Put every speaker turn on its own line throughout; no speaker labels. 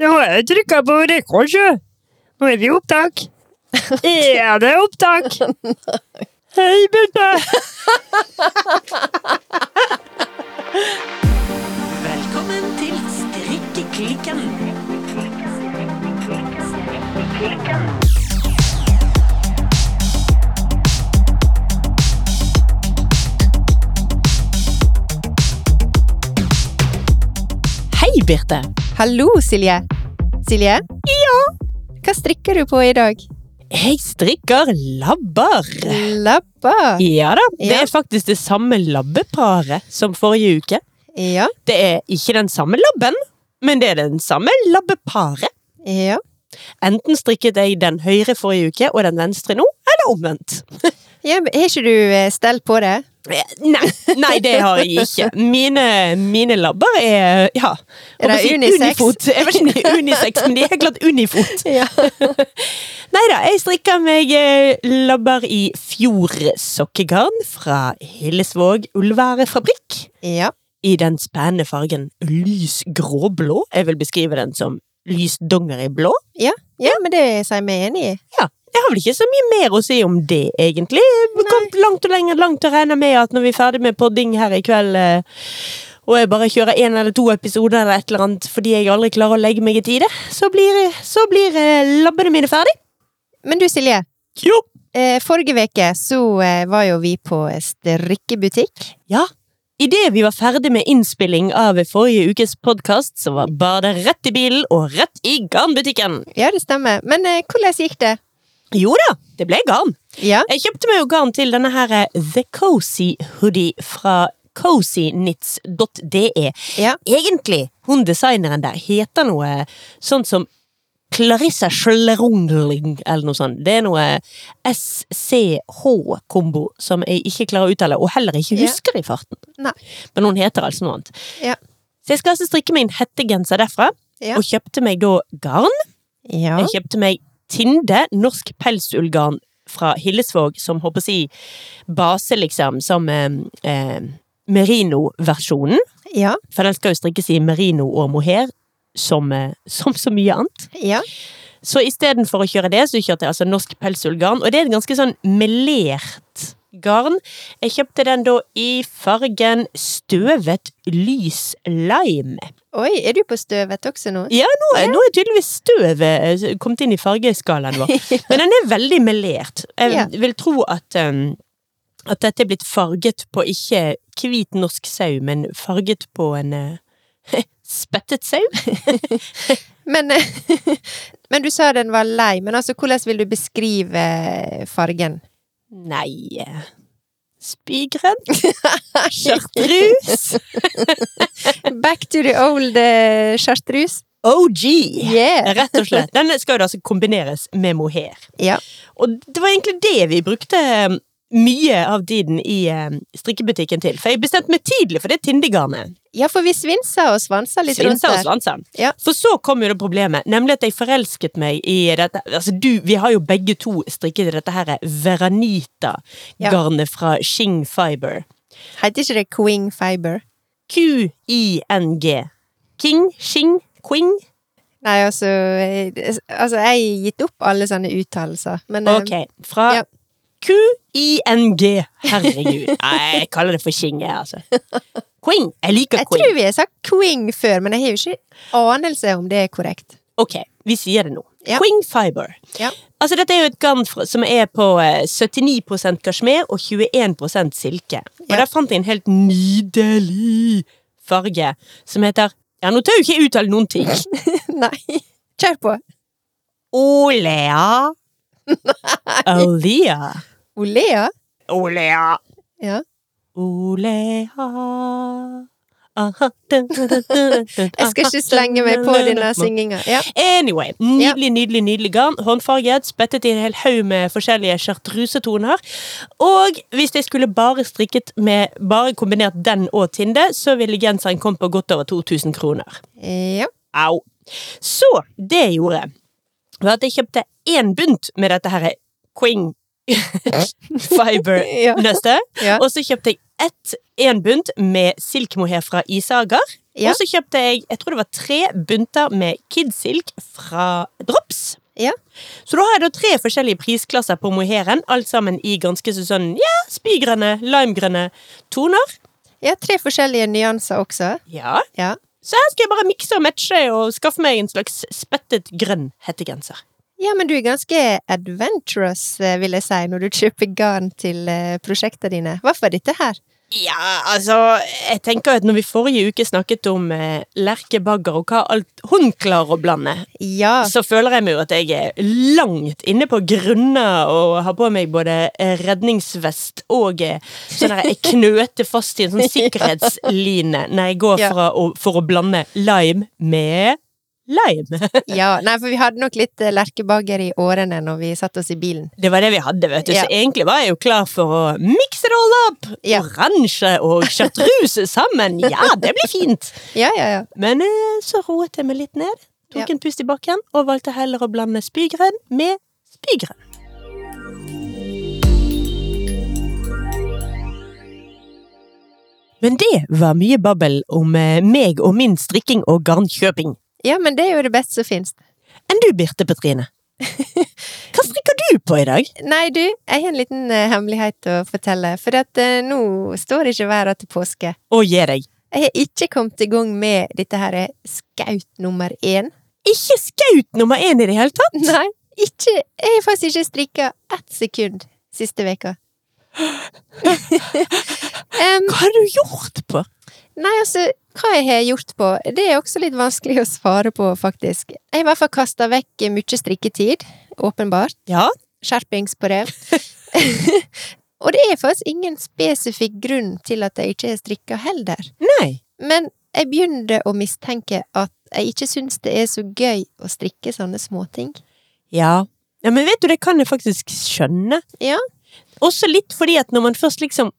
Nå har jeg trykka på rekord, sjø. Nå er vi i opptak. Er det opptak? Hei, Birte.
Velkommen til Strikkeklikken. Hei, Birte.
Hallo, Silje. Silje? Ja? Hva strikker du på i dag?
Jeg strikker labber.
Labber.
Ja da, det
Ja.
er faktisk det samme labbeparet som forrige uke.
Ja,
Det er ikke den samme labben, men det er den samme labbeparet.
ja.
Enten strikket jeg den høyre forrige uke og den venstre nå, eller omvendt.
ja men har ikke du eh, stell på det?
Eh, Nei, nei det har jeg ikke. Mine, mine labber er ja,
Er det
jeg håper å
unisex?
Unifot. Jeg vet ikke om de er unisex, men de er helt klart unifot.
Ja.
Nei da, jeg strikka meg eh, labber i fjordsokkegarn fra Hillesvåg ullværefabrikk.
Ja.
I den spennende fargen lys gråblå. Jeg vil beskrive den som lys dongeriblå.
Ja, men det sier vi enig i.
Jeg har vel ikke så mye mer å si om det, egentlig. Vi kom langt og lenger langt og regner med at når vi er ferdig med podding her i kveld, eh, og jeg bare kjører én eller to episoder eller et eller annet fordi jeg aldri klarer å legge meg i tide, så blir, så blir eh, labbene mine ferdig.
Men du, Silje.
Jo.
eh, Forrige veke så eh, var jo vi på strikkebutikk.
Ja. Idet vi var ferdig med innspilling av forrige ukes podkast, så var badet rett i bilen og rett i garnbutikken.
Ja, det stemmer. Men eh, hvordan gikk det?
Jo da, det ble garn.
Ja.
Jeg kjøpte meg jo garn til denne her eh, The Cozy Hoodie fra cozyknits.de.
Ja.
Egentlig, hun designeren der heter noe sånt som Clarissa Schlerungling, eller noe sånt. Det er noe eh, SCH-kombo som jeg ikke klarer å uttale, og heller ikke
Ja.
husker i farten.
Nei.
Men hun heter altså noe annet.
Ja.
Så jeg skal altså strikke meg en hettegenser derfra,
Ja.
og kjøpte meg da garn.
Ja.
Jeg kjøpte meg Tinde, norsk pelsullgarn fra Hillesvåg, som håper å si base, liksom, som eh, eh, merino-versjonen.
Ja.
For den skal jo strikkes i merino og mohair, som, eh, som så mye annet.
Ja.
Så istedenfor å kjøre det, så kjørte jeg altså norsk pelsullgarn, og det er et ganske sånn melert garn. Jeg kjøpte den da i fargen støvet lys lime.
Oi, er du på støvet også nå?
Ja, nå, er- nå er tydeligvis støvet eh, kommet inn i fargeskalaen vår. Men den er veldig melert. Jeg
Ja.
vil tro at, um, at dette er blitt farget på ikke hvit norsk sau, men farget på en eh, spettet sau.
Men, eh, men du sa den var lei. Men altså, hvordan vil du beskrive eh, fargen?
Nei eh, Spygrønn. Chartrus.
Back to the old uh, chartrus.
OG.
Yeah.
Rett og slett. Denne skal jo da altså kombineres med mohair.
Ja.
Og det var egentlig det vi brukte eh, mye av tiden i eh, strikkebutikken til. For jeg bestemte meg tidlig for det tindegarnet.
ja, for vi svinser og svanser litt rundt
Svinsa og
der.
svansa.
Ja.
For så kom jo det problemet, nemlig at jeg forelsket meg i dette Altså, du, vi har jo begge to strikket i dette her Veranita-garnet fra Shing Fiber.
Heter ikke det Queen Fiber?
Q-I-N-G. King, Shing, Quing.
Nei, altså eh, Altså, jeg har gitt opp alle sånne uttalelser, men eh,
Ok, fra
Ja.
Q-I-N-G. Herregud. Nei, jeg kaller det for Shing, jeg, altså. Quing. Jeg liker
jeg
Quing.
tror vi har sagt Queen før, men jeg har jo ikke anelse om det er korrekt.
Ok, vi sier det nå.
Ja.
Queen fiber.
Ja.
Altså, dette er jo et garn fra- som er på eh, 79 kasjmer og 21 silke. Og
Ja.
der fant jeg en helt nydelig farge som heter Ja, nå tør jo ikke jeg uttale noen ting.
Nei. Kjør på.
Olea. Olea.
Olea?
Olea.
Ja.
Olea.
Jeg
Jeg
skal ikke slenge meg på denne synginga. Ja.
Anyway, nydelig, nydelig, nydelig garn. Håndfarget, spettet i en hel haug med forskjellige chartrusetoner. Og hvis jeg skulle bare strikket med bare kombinert den og Tinde, så ville genseren kommet på godt over 2000 kroner.
ja.
Au. Så det jeg gjorde, var at jeg kjøpte én bunt med dette her Queen Fiber.
Ja.
Neste.
Ja.
Og så kjøpte jeg ett en bunt med silkmohair fra Isager.
Ja.
Og så kjøpte jeg jeg tror det var tre bunter med kidsilk fra Drops.
Ja.
Så da har jeg da tre forskjellige prisklasser på mohairen, alt sammen i ganske så sånn ja, spygrønne, limegrønne toner.
Ja, tre forskjellige nyanser også.
Ja.
Ja.
Så her skal jeg bare mikse og matche og skaffe meg en slags spettet grønn hettegenser.
ja, men du er ganske adventurous, eh, vil jeg si, når du kjøper garn til eh, prosjektene dine. Hva for dette her?
Ja, altså, jeg tenker at når vi forrige uke snakket om eh, lerkebagger og hva alt hun klarer å blande,
Ja,
så føler jeg meg jo at jeg er langt inne på grunner og har på meg både eh, redningsvest og eh, sånn her, jeg knøter fast i en sånn sikkerhetsline når jeg går
Ja.
fra å, for å blande lime med lime.
ja. Nei, for vi hadde nok litt eh, lerkebagger i årene når vi satt oss i bilen.
Det var det vi hadde, vet du.
Ja.
Så egentlig var jeg jo klar for å mix it all up!
Ja.
Oransje og chartreuse sammen. Ja, det blir fint!
Ja, ja, ja.
Men eh, så roet jeg meg litt ned, tok
Ja.
en pust i bakken og valgte heller å blande spygrønn med spygrønn. Men det var mye babbel om eh, meg og min strikking og garnkjøping.
Ja, men det er jo det beste som finnes.
Enn du, Birte Petrine? Hva strikker du på i dag?
Nei, du, jeg har en liten eh, hemmelighet å fortelle, for at eh, nå står ikke været til påske.
Å, gi deg.
Jeg har ikke kommet i gang med dette her eh, skaut nummer én.
Ikke skaut nummer én i det hele tatt!
Nei, ikke, jeg har faktisk ikke strikka ett sekund siste veka. Em,
Hva har du gjort på?
nei, altså, hva jeg har gjort på, det er også litt vanskelig å svare på, faktisk. Jeg har i hvert fall kasta vekk mye strikketid, åpenbart.
Ja,
Skjerpings på det. Og det er faktisk ingen spesifikk grunn til at jeg ikke har strikka heller.
nei.
Men jeg begynner å mistenke at jeg ikke syns det er så gøy å strikke sånne småting.
Ja. ja, men vet du, det kan jeg faktisk skjønne.
Ja.
Også litt fordi at når man først liksom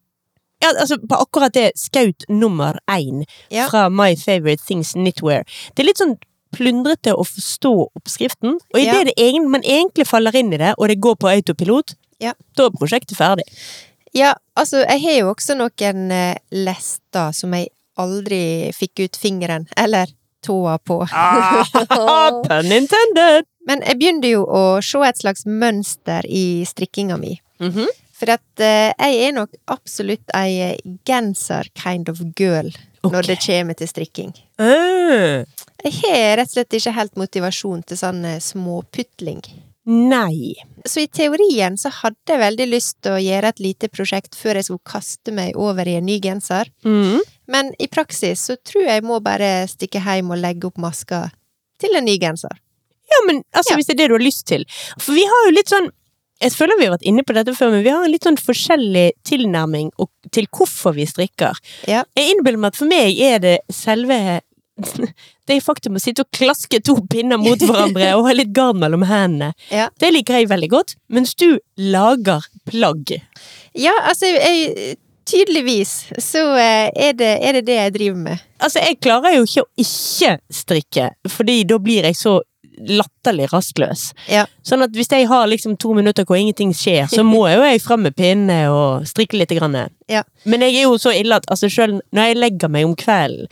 ja, altså På akkurat det skaut nummer én
Ja.
fra My Favorite Things Knitwear. Det er litt sånn plundrete å forstå oppskriften, og
Ja.
idet det egent- man egentlig faller inn i det, og det går på autopilot,
Ja.
da er prosjektet ferdig.
Ja, altså, jeg har jo også noen eh, lester som jeg aldri fikk ut fingeren, eller tåa på.
Ah,
Pun intended!
Men jeg begynner jo å se et slags mønster i strikkinga mi.
Mhm.
For at eh, jeg er nok absolutt ei eh, genser kind of girl
Ok.
når det kommer til strikking.
Ah,
Jeg har rett og slett ikke helt motivasjon til sånn eh, småputling.
nei.
Så i teorien så hadde jeg veldig lyst til å gjøre et lite prosjekt før jeg skulle kaste meg over i en ny genser.
Mm.
Men i praksis så tror jeg jeg må bare stikke hjem og legge opp maska til en ny genser.
Ja, men altså,
Ja.
hvis det er det du har lyst til. For vi har jo litt sånn Jeg føler vi har vært inne på dette før, men vi har en litt sånn forskjellig tilnærming og, til hvorfor vi strikker.
Ja.
Jeg innbiller meg at for meg er det selve det faktum å sitte og klaske to pinner mot hverandre og ha litt garn mellom hendene,
Ja.
det liker jeg veldig godt. Mens du lager plagg.
Ja, altså jeg, Tydeligvis så eh, er det, er det det jeg driver med.
Altså, jeg klarer jo ikke å ikke strikke, fordi da blir jeg så latterlig rastløs.
Ja.
Sånn at hvis jeg har liksom to minutter hvor ingenting skjer, så må jo jeg frem med pinne og strikke litt. Grann.
Ja.
Men jeg er jo så ille at altså selv når jeg legger meg om kvelden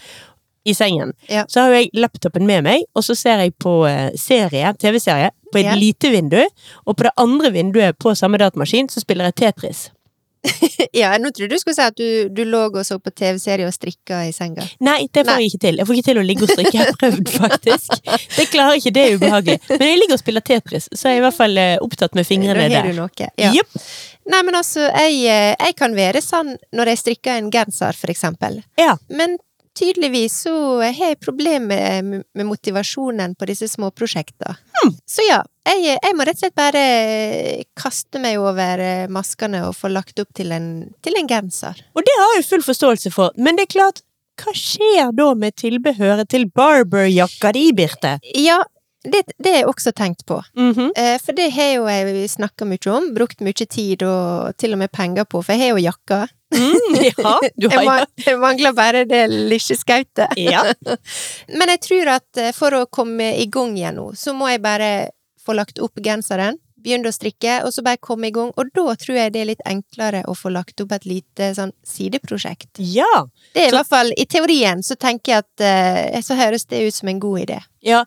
i sengen,
Ja.
så har jo jeg laptopen med meg, og så ser jeg på eh, serie, TV-serie på et
Ja.
lite vindu, og på det andre vinduet på samme datamaskin så spiller jeg Tetris.
ja, Nå trodde du skulle si at du, du lå og så på TV-serie og strikka i senga.
Nei, det får
Nei.
jeg ikke til. Jeg får ikke til å ligge og strikke. Jeg har prøvd, faktisk. Det klarer jeg ikke, det er ubehagelig. Men jeg ligger og spiller Tetris, så jeg er i hvert fall eh, opptatt med
Da
fingrene
har
der.
du noe. Ja.
Jepp.
Nei, men altså, jeg, eh, jeg kan være sånn når jeg strikker en genser, for eksempel.
Ja.
Men tydeligvis så har jeg problemer med, med motivasjonen på disse små prosjektene.
Hmm.
Så ja, jeg, eh, jeg må rett og slett bare kaste meg over eh, maskene og få lagt opp til en, til en genser.
Og det har jeg full forståelse for, men det er klart, hva skjer da med tilbehøret til barberjakka di, Birte?
Ja, det, det har jeg også tenkt på.
Mhm.
Eh, For det har jo jeg snakka mye om, brukt mye tid og til og med penger på, for jeg har jo jakka.
mm, ja, du har
Jeg, man, jeg mangler bare det lille skautet.
ja.
Men jeg tror at eh, for å komme i gang igjen nå, så må jeg bare få lagt opp genseren, begynne å strikke, og så bare komme i gang. Og da tror jeg det er litt enklere å få lagt opp et lite sånn sideprosjekt.
Ja.
Det er i
Så-
hvert fall, i teorien så tenker jeg at eh, så høres det ut som en god idé.
ja.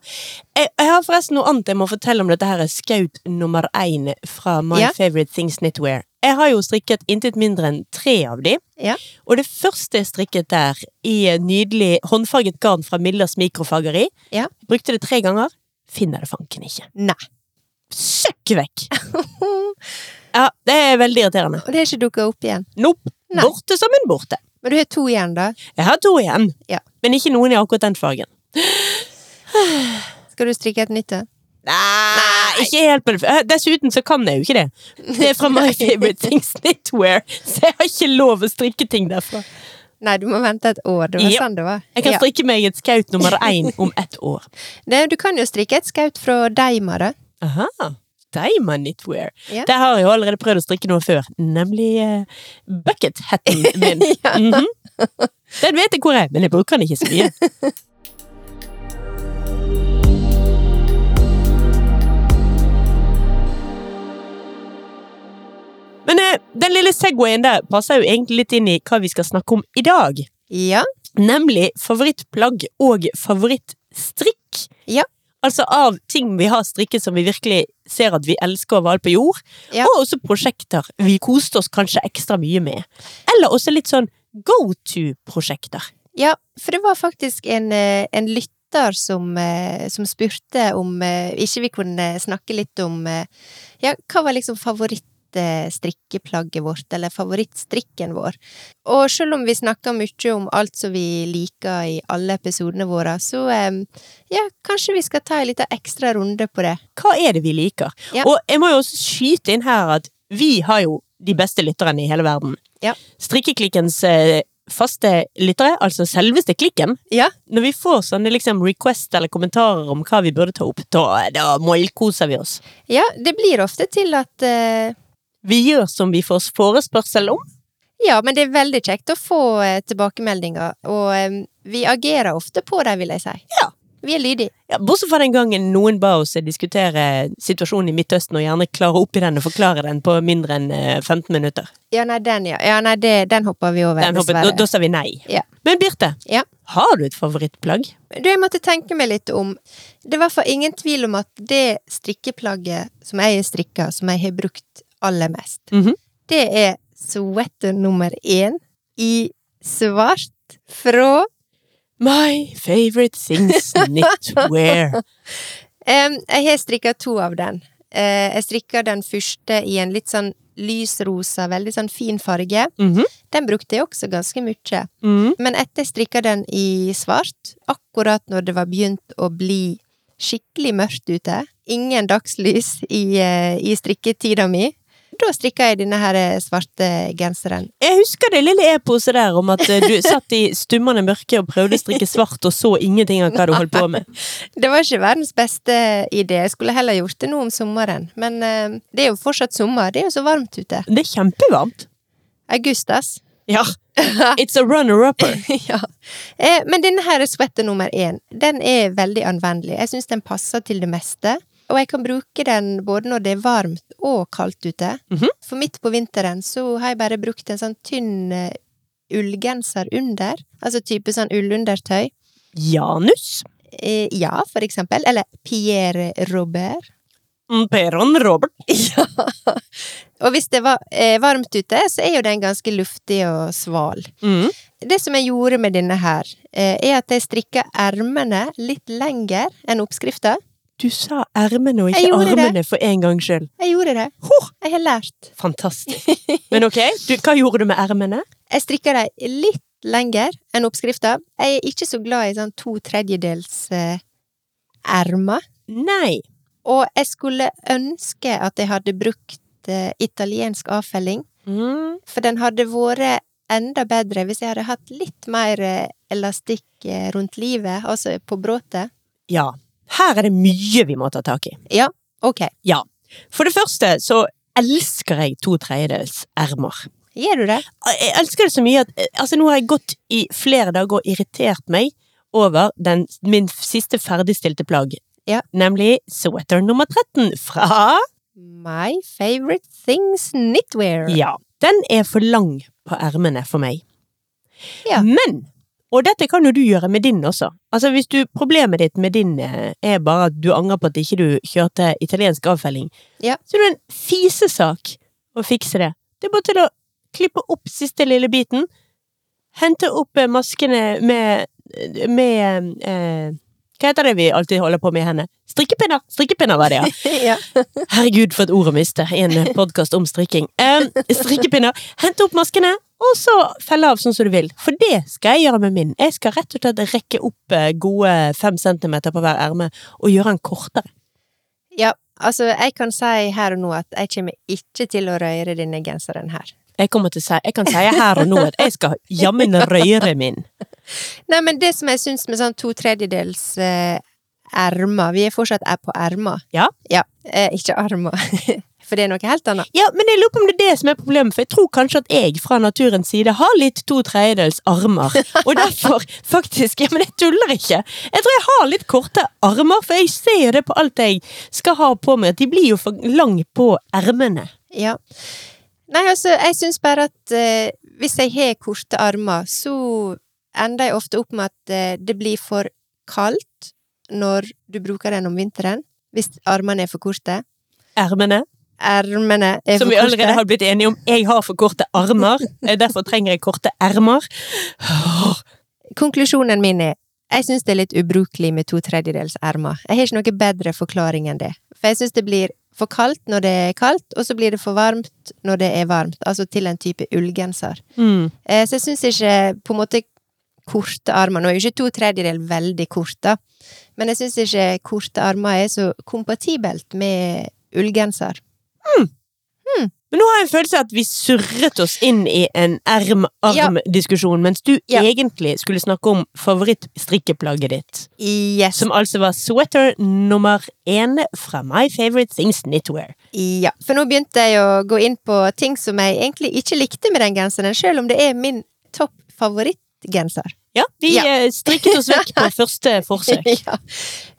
Jeg, jeg har forresten noe annet jeg må fortelle om dette her. Skaut nummer én fra My
Ja.
Favorite Things Knitwear. Jeg har jo strikket intet mindre enn tre av de.
Ja.
Og det første jeg strikket der, i en nydelig håndfarget garn fra Millers mikrofageri,
Ja.
brukte det tre ganger, finner det fanken ikke.
Nei.
Søkk vekk! ja, det er veldig irriterende.
Og det er ikke dukka opp igjen.
Nope.
Nei.
Borte som en borte.
Men du har to igjen, da.
Jeg har to igjen,
Ja.
men ikke noen i akkurat den fargen.
Skal du strikke et nytt? da?
Nei, ikke helt på det. Eh, Dessuten så kan jeg jo ikke det. Det er fra My Favorite Things Knitwear, så jeg har ikke lov å strikke ting derfra.
Nei, du må vente et år. Det var
Ja.
sånn det var.
Jeg kan
Ja.
strikke meg et skaut nummer én om ett år.
Det, du kan jo strikke et skaut fra Deima, da.
Aha. Daima Knitwear.
Ja.
Der har jeg jo allerede prøvd å strikke noe før, nemlig eh, bucket-hatten min. Mhm. Den vet jeg hvor er, men jeg bruker den ikke så mye. Men eh, den lille Segwayen der passer jo egentlig litt inn i hva vi skal snakke om i dag.
Ja.
Nemlig favorittplagg og favorittstrikk.
Ja.
Altså av ting vi har strikket som vi virkelig ser at vi elsker over alt på jord.
Ja.
Og også prosjekter vi koste oss kanskje ekstra mye med. Eller også litt sånn go to-prosjekter.
ja. For det var faktisk en, eh, en lytter som, eh, som spurte om eh, ikke vi kunne snakke litt om eh, Ja, hva var liksom favorittstrikkeplagget vårt, eller favorittstrikken vår? Og selv om vi snakker mye om alt som vi liker i alle episodene våre, så eh, ja, kanskje vi skal ta en liten ekstra runde på det.
Hva er det vi liker?
Ja.
Og jeg må jo også skyte inn her at vi har jo de beste lytterne i hele verden.
Ja.
Strikkeklikkens eh, faste lyttere, altså selveste klikken,
Ja.
når vi får sånne liksom, request eller kommentarer om hva vi burde ta opp, da, da målkoser vi oss.
Ja, det blir ofte til at eh,
Vi gjør som vi får forespørsel om.
Ja, men det er veldig kjekt å få eh, tilbakemeldinger, og eh, vi agerer ofte på dem, vil jeg si.
Ja.
Vi er lydige.
Ja, bortsett fra den gangen noen ba oss diskutere situasjonen i Midtøsten, og gjerne klare opp i den og forklare den på mindre enn eh, 15 minutter.
Ja, nei, den, ja. ja, nei, det, den hopper vi over,
Den hoppet, da, da sa vi nei.
Ja.
Men Birte,
Ja.
har du et favorittplagg?
Du, jeg måtte tenke meg litt om Det er i hvert fall ingen tvil om at det strikkeplagget som jeg har strikka, som jeg har brukt aller mest,
Mhm.
det er sweater nummer én i svart fra
My favorite things knitwear.
Em, jeg har strikka to av den. Eh, jeg strikka den første i en litt sånn lysrosa, veldig sånn fin farge.
Mhm.
Den brukte jeg også ganske mye.
Mm.
Men etter jeg strikka den i svart, akkurat når det var begynt å bli skikkelig mørkt ute, ingen dagslys i, eh, i strikketida mi, da strikka jeg denne her eh, svarte genseren.
Jeg husker det lille eposet der om at eh, du satt i stummende mørke og prøvde å strikke svart og så ingenting av hva du holdt på med.
Det var ikke verdens beste idé. Jeg skulle heller gjort det nå om sommeren. Men eh, det er jo fortsatt sommer. Det er jo så varmt ute.
Det er kjempevarmt.
August, ass.
Ja. It's a runner-upper.
ja. Eh, men denne her sweater nummer én, den er veldig anvendelig. Jeg syns den passer til det meste. Og jeg kan bruke den både når det er varmt og kaldt ute.
Mhm.
For midt på vinteren så har jeg bare brukt en sånn tynn eh, ullgenser under. Altså type sånn ullundertøy.
Janus.
Eh, ja, for eksempel. Eller Pierre Robert.
Mm, Peron Robert.
ja. Og hvis det var eh, varmt ute, så er jo den ganske luftig og sval.
Mm.
Det som jeg gjorde med denne her, eh, er at jeg strikka ermene litt lenger enn oppskrifta.
Du sa ermene og
Jeg
ikke
gjorde det.
armene for en gangs skyld.
Jeg gjorde det.
Huh,
Jeg har lært.
fantastisk. Men ok, du, hva gjorde du med ermene?
Jeg strikka dem litt lenger enn oppskrifta. Jeg er ikke så glad i sånn to tredjedels eh, ermer.
Nei.
Og jeg skulle ønske at jeg hadde brukt eh, italiensk avfelling,
Mm.
for den hadde vært enda bedre hvis jeg hadde hatt litt mer eh, elastikk eh, rundt livet, altså på bråtet.
Ja. Her er det mye vi må ta tak i.
Ja, ok.
For det første så elsker jeg to tredjedels ermer.
Gjør du det?
Jeg elsker det så mye at eh, altså, nå har jeg gått i flere dager og irritert meg over den, min siste ferdigstilte plagg.
Ja.
Nemlig sweater nummer 13 fra
My favorite things knitwear.
Ja. Den er for lang på ermene for meg.
Ja.
Men! Og dette kan jo du gjøre med din også. Altså hvis du, Problemet ditt med din eh, er bare at du angrer på at ikke du kjørte italiensk avfelling.
Ja.
Så er det en fisesak å fikse det. Det er bare til å klippe opp siste lille biten. Hente opp eh, maskene med, med eh, Hva heter det vi alltid holder på med i hendene? Strikkepinner! Strikkepinner var det, ja.
ja.
Herregud, for et ord å miste i en podkast om strikking. Em, strikkepinner. Hent opp maskene, og så felle av sånn som du vil. For det skal jeg gjøre med min. Jeg skal rett og slett rekke opp eh, gode fem centimeter på hver erme og gjøre den kortere.
ja. Altså, jeg kan si her og nå at jeg kommer ikke til å røre denne genseren her.
Jeg, kommer til å si, jeg kan si her og nå at jeg skal jammen røyre min.
Nei, men det som jeg syns med sånn to tredjedels eh, ermer Vi er fortsatt er på ermer.
Ja.
eh, ikke armer. For det er noe helt annet.
Ja, men jeg lurer på om det er det som er problemet, for jeg tror kanskje at jeg fra naturens side har litt to tredjedels armer, og derfor faktisk Ja, men jeg tuller ikke! Jeg tror jeg har litt korte armer, for jeg ser jo det på alt jeg skal ha på meg, at de blir jo for lang på ermene.
Ja. Nei, altså, jeg syns bare at eh, hvis jeg har korte armer, så ender jeg ofte opp med at eh, det blir for kaldt når du bruker den om vinteren. Hvis armene er for korte.
Ermene,
Ermene er
som
for
vi allerede
korte.
har blitt enige om. Jeg har for korte armer, eh, derfor trenger jeg korte ermer. Åh,
Konklusjonen min er jeg syns det er litt ubrukelig med to tredjedels ermer. Jeg har ikke noe bedre forklaring enn det. For jeg syns det blir for kaldt når det er kaldt, og så blir det for varmt når det er varmt. Altså til en type ullgenser.
Mm.
Eh, Så jeg syns ikke på en måte korte armer Nå er jo ikke to tredjedel veldig kort, da. Men jeg syns ikke korte armer er så kompatibelt med ullgenser.
Men nå har jeg en følelse av at vi surret oss inn i en erm-arm-diskusjon, mens du
Ja.
egentlig skulle snakke om favorittstrikkeplagget ditt.
Yes.
Som altså var sweater nummer én fra My Favorite Things Knitwear.
Ja. For nå begynte jeg å gå inn på ting som jeg egentlig ikke likte med den genseren, sjøl om det er min topp favorittgenser.
Ja, vi
Ja.
eh, strikket oss vekk på første forsøk.
ja.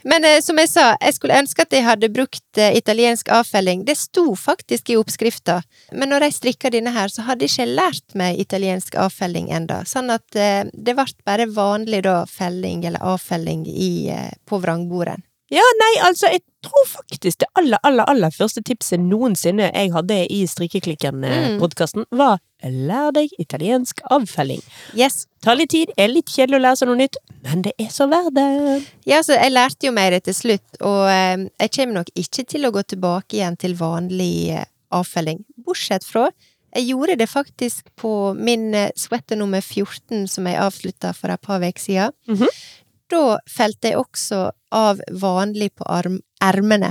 Men eh, som jeg sa, jeg skulle ønske at jeg hadde brukt eh, italiensk avfelling. Det sto faktisk i oppskrifta, men når jeg strikka denne her, så hadde jeg ikke lært meg italiensk avfelling enda. Sånn at eh, det ble bare vanlig da felling eller avfelling i, eh, på vrangboren.
Ja, nei, altså, jeg tror faktisk det aller, aller, aller første tipset noensinne jeg hadde i
Mm.
Strikkeklikken-podkasten, var lær deg italiensk avfelling.
Yes.
Tar litt tid, er litt kjedelig å lære seg noe nytt, men det er så verdt det.
Ja, så jeg lærte jo meg det til slutt, og eh, jeg kommer nok ikke til å gå tilbake igjen til vanlig eh, avfelling. Bortsett fra jeg gjorde det faktisk på min eh, sweater nummer 14, som jeg avslutta for et par uker siden.
Mhm.
Da felte jeg også av vanlig på arm ermene.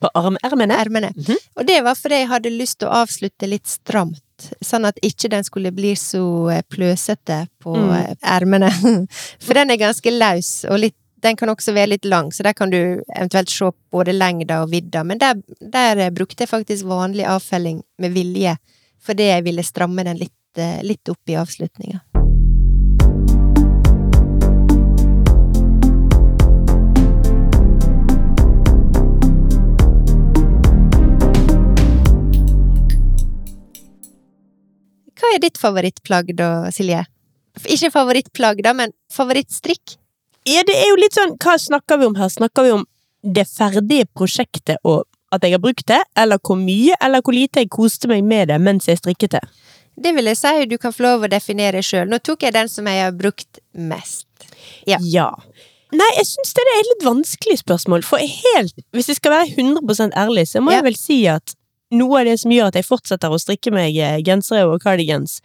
På armermene.
ermene.
Mhm.
Og det var fordi jeg hadde lyst til å avslutte litt stramt. Sånn at ikke den skulle bli så eh, pløsete på
Mm.
eh, ermene. For den er ganske løs, og litt, den kan også være litt lang, så der kan du eventuelt se både lengda og vidda. Men der, der eh, brukte jeg faktisk vanlig avfelling med vilje, fordi jeg ville stramme den litt, eh, litt opp i avslutninga. Hva er ditt favorittplagg da, Silje? Ikke favorittplagg, da, men favorittstrikk?
Ja, det er jo litt sånn, hva snakker vi om her? Snakker vi om det ferdige prosjektet og at jeg har brukt det, eller hvor mye eller hvor lite jeg koste meg med det mens jeg strikket det?
Det vil jeg si du kan få lov å definere sjøl. Nå tok jeg den som jeg har brukt mest. Ja.
Nei, jeg syns det er et litt vanskelig spørsmål, for jeg helt, hvis jeg skal være 100 ærlig, så må
Ja.
jeg vel si at noe av det som gjør at jeg fortsetter å strikke meg eh, gensere og cardigans,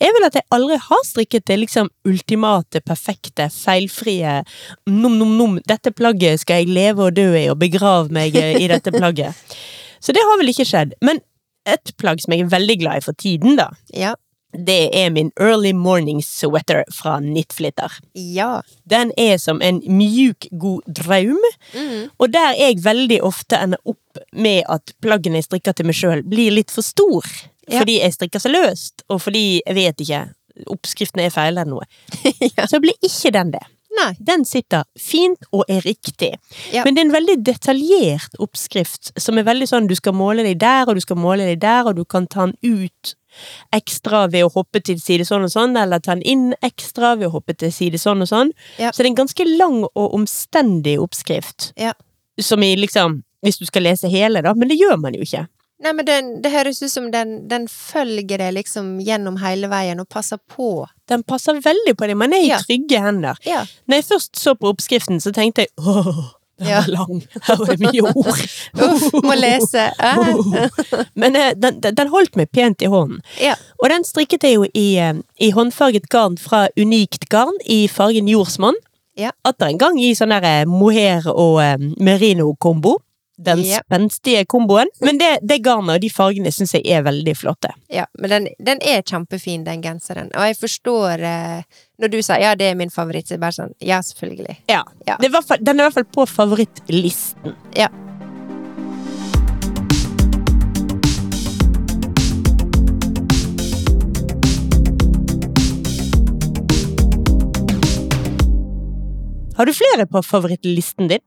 er vel at jeg aldri har strikket det liksom ultimate, perfekte, feilfrie nom-nom-nom, dette plagget skal jeg leve og dø i og begrave meg eh, i dette plagget. Så det har vel ikke skjedd. Men et plagg som jeg er veldig glad i for tiden, da,
Ja.
det er min early morning sweater fra Knitflitter.
Ja.
Den er som en mjuk, god draum,
Mm.
og der jeg veldig ofte ender opp med at plaggene jeg strikker til meg sjøl, blir litt for stor.
Ja.
Fordi jeg strikker så løst, og fordi jeg vet ikke, oppskriften er feil eller noe. Så blir ikke den det.
Nei.
Den sitter fint og er riktig.
Ja.
Men det er en veldig detaljert oppskrift, som er veldig sånn du skal måle deg der, og du skal måle deg der, og du kan ta den ut ekstra ved å hoppe til side sånn og sånn, eller ta den inn ekstra ved å hoppe til side sånn og sånn.
Ja.
Så det er en ganske lang og omstendig oppskrift.
Ja.
Som i liksom Hvis du skal lese hele, da, men det gjør man jo ikke.
Nei, men den, det høres ut som den, den følger deg liksom gjennom hele veien og passer på.
Den passer veldig på det. Man er i
Ja.
trygge hender.
Ja.
Når jeg først så på oppskriften, så tenkte jeg åh, den
Ja.
var lang. Her var det mye ord.
Uff, må lese. Eh?
Men eh, den, den- den holdt meg pent i hånden.
Ja.
Og den strikket jeg jo i, eh, i håndfarget garn fra Unikt garn i fargen jordsmonn.
Ja.
Atter en gang i sånn der eh, mohair og eh, merino-kombo. Den
Ja.
spenstige komboen. Men det, det garnet og de fargene syns jeg er veldig flotte.
Ja, men den, den er kjempefin, den genseren. Og jeg forstår eh, Når du sa ja, det er min favoritt, så er det bare sånn Ja, selvfølgelig.
Ja.
Ja.
Det er i hvert fall, den er i hvert fall på favorittlisten.
Ja.
Har du flere på favorittlisten din?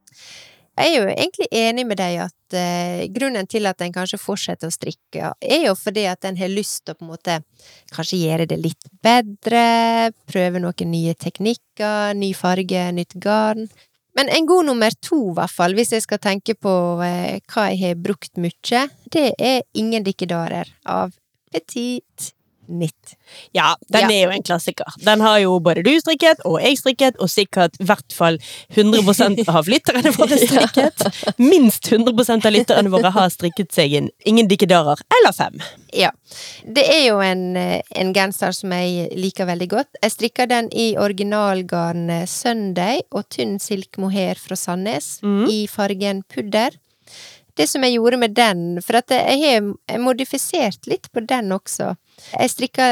Jeg er jo egentlig enig med deg at eh, grunnen til at en kanskje fortsetter å strikke, er jo fordi at en har lyst til å på en måte kanskje gjøre det litt bedre, prøve noen nye teknikker, ny farge, nytt garn. Men en god nummer to, i hvert fall, hvis jeg skal tenke på eh, hva jeg har brukt mye, det er Ingen dikkedarer av Petit Nitt.
Ja, den
Ja.
er jo en klassiker. Den har jo både du strikket, og jeg strikket, og sikkert i hvert fall 100 av lytterne våre strikket. Minst 100 av lytterne våre har strikket seg inn. Ingen dikkedarer. Eller fem.
Ja. Det er jo en, eh, en genser som jeg liker veldig godt. Jeg strikker den i originalgarn eh, Sunday og tynn silk mohair fra Sandnes
Mhm.
i fargen pudder. Det som jeg gjorde med den, for at jeg har jeg modifisert litt på den også. Jeg strikka